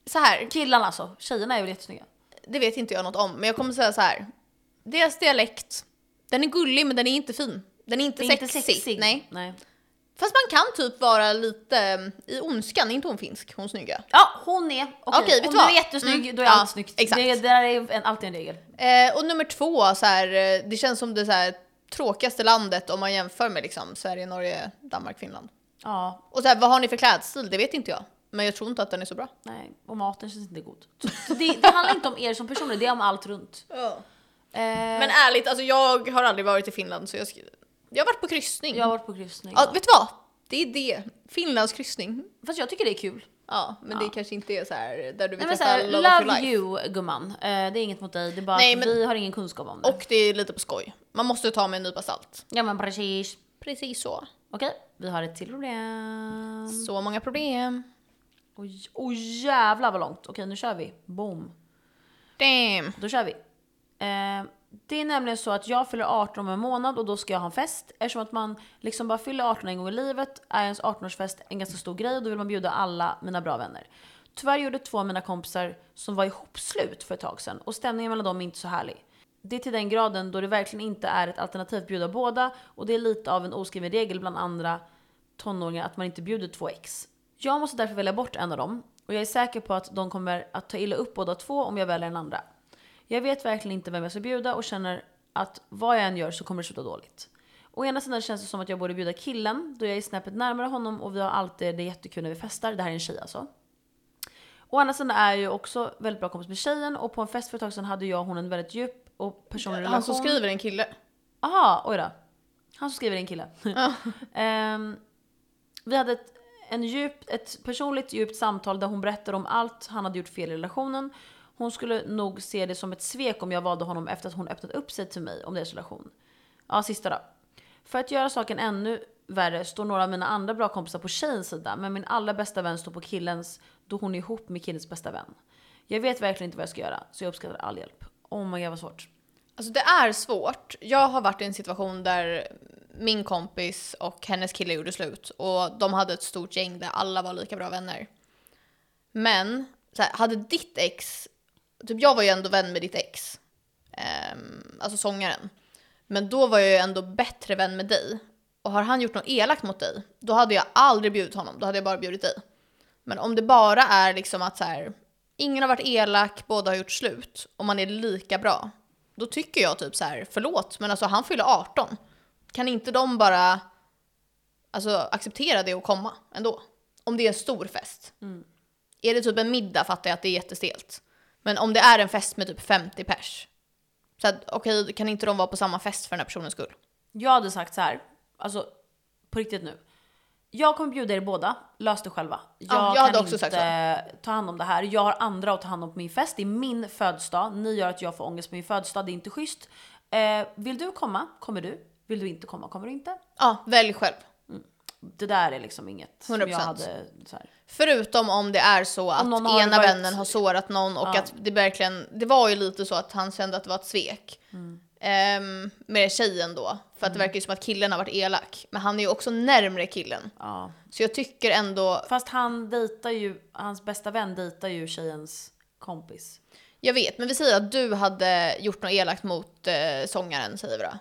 B: Så här,
A: Killarna alltså, tjejerna är väl jättesnygga.
B: det vet inte jag något om, men jag kommer säga så här. Deras dialekt, den är gullig men den är inte fin. Den är inte,
A: Det är
B: sexig.
A: inte sexig.
B: Nej.
A: Nej.
B: Fast man kan typ vara lite mm, i ondskan, är inte hon finsk, hon snygga?
A: Ja, hon är. Okej,
B: Okej, vet
A: om
B: du
A: du är
B: vad?
A: jättesnygg
B: Mm.
A: då är
B: Ja,
A: allt snyggt.
B: exakt.
A: Det, det där är en, alltid en regel.
B: Eh, och nummer två, så här, eh, det känns som det så här, tråkigaste landet om man jämför med liksom, Sverige, Norge, Danmark, Finland.
A: Ja,
B: Och så här, vad har ni för klädstil? Det vet inte jag. Men jag tror inte att den är så bra.
A: Nej, och maten känns inte god. Så det, det handlar inte om er som personer, det är om allt runt. Eh,
B: Men ärligt, alltså, jag har aldrig varit i Finland så jag, sk- jag har varit på kryssning.
A: jag har varit på kryssning.
B: Ja, vet du vad? Det är det. Finlands kryssning.
A: Fast jag tycker det är kul.
B: Ja, men det kanske inte är så här där du vill
A: Nej, men så
B: träffa
A: här,
B: love of your
A: love
B: life.
A: you gumman, eh, det är inget mot dig, det är bara
B: Nej,
A: att
B: men-
A: vi har ingen kunskap om det.
B: Och det är lite på skoj. Man måste ta med en nypa salt.
A: Ja men precis.
B: Precis så.
A: Okej, vi har ett till problem.
B: Så många problem.
A: Oj, oj jävlar vad långt. Okej nu kör vi. Boom.
B: Damn.
A: Då kör vi. Eh, det är nämligen så att jag fyller 18 om en månad och då ska jag ha en fest. Eftersom att man liksom bara fyller 18 en gång i livet är ens 18-årsfest en ganska stor grej och då vill man bjuda alla mina bra vänner. Tyvärr gjorde två av mina kompisar som var ihopslut för ett tag sedan och stämningen mellan dem är inte så härlig. Det är till den graden då det verkligen inte är ett alternativ att bjuda båda och det är lite av en oskriven regel bland andra tonåringar att man inte bjuder två ex. Jag måste därför välja bort en av dem och jag är säker på att de kommer att ta illa upp båda två om jag väljer den andra. Jag vet verkligen inte vem jag ska bjuda och känner att vad jag än gör så kommer det sluta dåligt. Å ena sidan känns det som att jag borde bjuda killen då jag är snäppet närmare honom och vi har alltid det jättekul när vi festar. Det här är en tjej alltså. Å andra sidan är jag ju också väldigt bra kompis med tjejen och på en fest för ett tag sedan hade jag och hon en väldigt djup och personlig relation.
B: Han som skriver är en kille.
A: Aha, oj då. Han som skriver är en kille. Ehm, vi hade ett, en djup, ett personligt djupt samtal där hon berättade om allt han hade gjort fel i relationen. Hon skulle nog se det som ett svek om jag valde honom efter att hon öppnat upp sig till mig om deras relation. Ja, sista då. För att göra saken ännu värre står några av mina andra bra kompisar på tjejens sida men min allra bästa vän står på killens då hon är ihop med killens bästa vän. Jag vet verkligen inte vad jag ska göra så jag uppskattar all hjälp. Oh my god vad svårt.
B: Alltså det är svårt. Jag har varit i en situation där min kompis och hennes kille gjorde slut och de hade ett stort gäng där alla var lika bra vänner. Men så här, hade ditt ex, typ jag var ju ändå vän med ditt ex, ehm, alltså sångaren. Men då var jag ju ändå bättre vän med dig. Och har han gjort något elakt mot dig, då hade jag aldrig bjudit honom, då hade jag bara bjudit dig. Men om det bara är liksom att så här, ingen har varit elak, båda har gjort slut och man är lika bra. Då tycker jag typ så här, förlåt, men alltså han fyller 18. Kan inte de bara alltså, acceptera det och komma ändå? Om det är en stor fest. Är det typ en middag fattar jag att det är jättestelt. Men om det är en fest med typ 50 pers. Så att, okej, kan inte de vara på samma fest för den här personens skull?
A: Jag hade sagt så här, alltså på riktigt nu. Jag kommer bjuda er båda, lös det själva. Jag,
B: jag
A: kan
B: hade också
A: inte
B: sagt
A: ta hand om det här. Jag har andra att ta hand om på min fest. Det är min födelsedag. Ni gör att jag får ångest på min födelsedag. Det är inte schysst. Eh, vill du komma, kommer du. Vill du inte komma kommer du inte.
B: Ja, välj själv.
A: Det där är liksom inget som jag
B: 100%.
A: hade så här.
B: Förutom om det är så att
A: någon har
B: ena
A: varit-
B: vännen har sårat någon och
A: Ja.
B: att det verkligen, det var ju lite så att han kände att det var ett svek.
A: Mm.
B: Ehm, med tjejen då, för att det verkar ju som att killen har varit elak. Men han är ju också närmre killen.
A: Ja.
B: Så jag tycker ändå,
A: Fast han dejtar ju, hans bästa vän dejtar ju tjejens kompis.
B: jag vet, men vi säger att du hade gjort något elakt mot eh, sångaren säger vi då.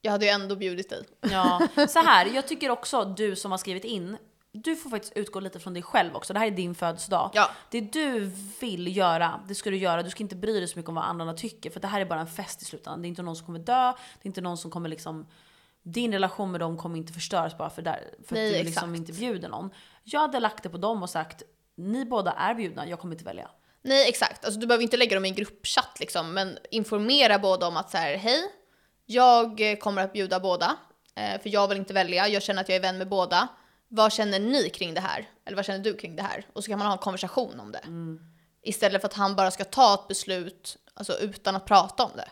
B: Jag hade ju ändå bjudit dig.
A: Ja, så här, jag tycker också du som har skrivit in, du får faktiskt utgå lite från dig själv också. Det här är din födelsedag.
B: Ja.
A: Det du vill göra, det ska du göra. Du ska inte bry dig så mycket om vad andra tycker. För det här är bara en fest i slutändan. Det är inte någon som kommer dö, det är inte någon som kommer liksom... Din relation med dem kommer inte förstöras bara för, där, för
B: Nej,
A: att du liksom
B: exakt.
A: inte bjuder någon. Jag hade lagt det på dem och sagt, ni båda är bjudna, jag kommer inte välja.
B: Nej exakt, alltså, du behöver inte lägga dem i en gruppchatt liksom, men informera båda om att så här, hej, jag eh, kommer att bjuda båda, eh, för jag vill inte välja, jag känner att jag är vän med båda. Vad känner ni kring det här? Eller vad känner du kring det här? Och så kan man ha en konversation om det. Istället för att han bara ska ta ett beslut alltså, utan att prata om det.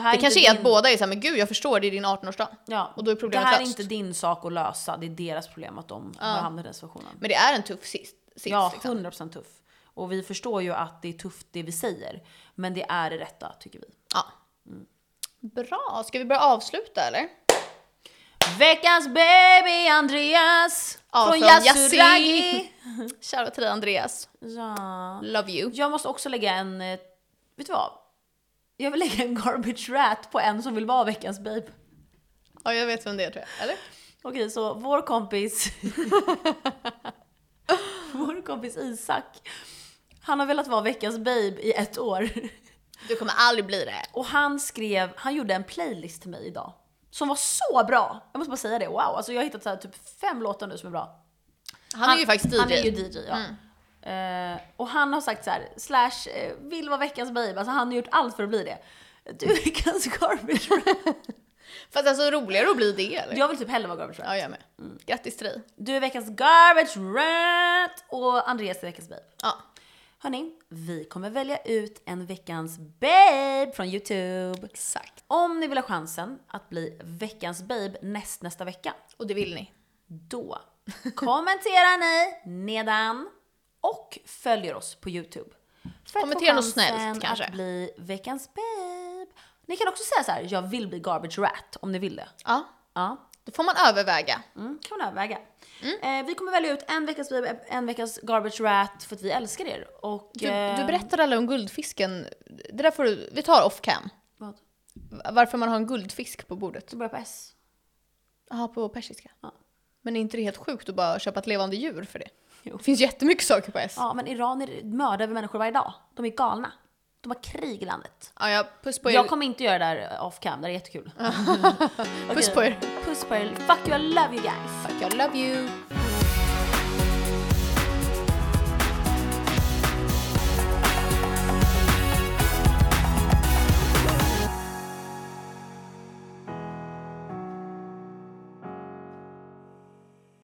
A: här
B: Det
A: inte
B: kanske är att
A: din-
B: båda är såhär, men gud jag förstår, det är din 18-årsdag.
A: Ja,
B: Och då är problemet
A: det här
B: löst.
A: är inte din sak att lösa, det är deras problem att de har hamnat i den situationen.
B: Men det är en tuff sits. sits,
A: Ja,
B: liksom.
A: 100% tuff. Och vi förstår ju att det är tufft det vi säger, men det är det rätta tycker vi.
B: ja. Bra, ska vi börja avsluta eller?
A: Veckans baby Andreas!
B: Ja,
A: från
B: från
A: Yasuragi!
B: Shoutout till dig Andreas,
A: Ja.
B: love you.
A: Jag måste också lägga en, eh, vet du vad? Jag vill lägga en garbage rat på en som vill vara veckans babe.
B: Ja, jag vet vem det är tror jag. Eller?
A: Okej, så vår kompis... vår kompis Isak. Han har velat vara veckans babe i ett år.
B: Du kommer aldrig bli det.
A: Och han skrev, han gjorde en playlist till mig idag. Som var så bra! Jag måste bara säga det, wow. Alltså jag har hittat så här typ fem låtar nu som är bra.
B: Han, är ju faktiskt Mm. DJ.
A: Han är ju DJ ja. Eh, och han har sagt så här, slash eh, vill vara veckans babe. Alltså han har gjort allt för att bli det. Du är veckans garbage rap.
B: Fast alltså roligare att bli det eller?
A: Jag vill typ hellre vara garbage rap.
B: Ja, jag med. Grattis till dig.
A: Du är veckans garbage rat och Andreas är veckans babe.
B: Ja.
A: Hörni, vi kommer välja ut en veckans babe från Youtube.
B: Exakt.
A: Om ni vill ha chansen att bli veckans babe näst nästa vecka,
B: Och det vill ni.
A: då kommenterar ni nedan och följer oss på Youtube. För att
B: Kommentera
A: få
B: något snällt,
A: chansen
B: kanske.
A: att bli veckans babe. Ni kan också säga så här: jag vill bli garbage rat om ni vill det.
B: Ja.
A: Ja,
B: Då får man överväga.
A: mm, kan man överväga.
B: Mm.
A: Eh, vi kommer välja ut en veckans babe, en veckans garbage rat för att vi älskar er. Och,
B: Du,
A: eh,
B: du berättade alla om guldfisken. Det där får du, vi tar off cam.
A: Vad?
B: Varför man har en guldfisk på bordet.
A: Du börjar på S.
B: Jaha, på persiska.
A: Ja.
B: Men är inte det helt sjukt att bara köpa ett levande djur för det?
A: Jo.
B: Det finns jättemycket saker på S. Ja,
A: Ja, men iranier mördar vi människor varje dag. De är galna. De har krig i landet.
B: ja puss på er.
A: Jag kommer inte göra det där off cam, det där är jättekul.
B: Puss
A: Okej.
B: på er.
A: Puss på er. Fuck you, I love you guys.
B: Tack, jag love you.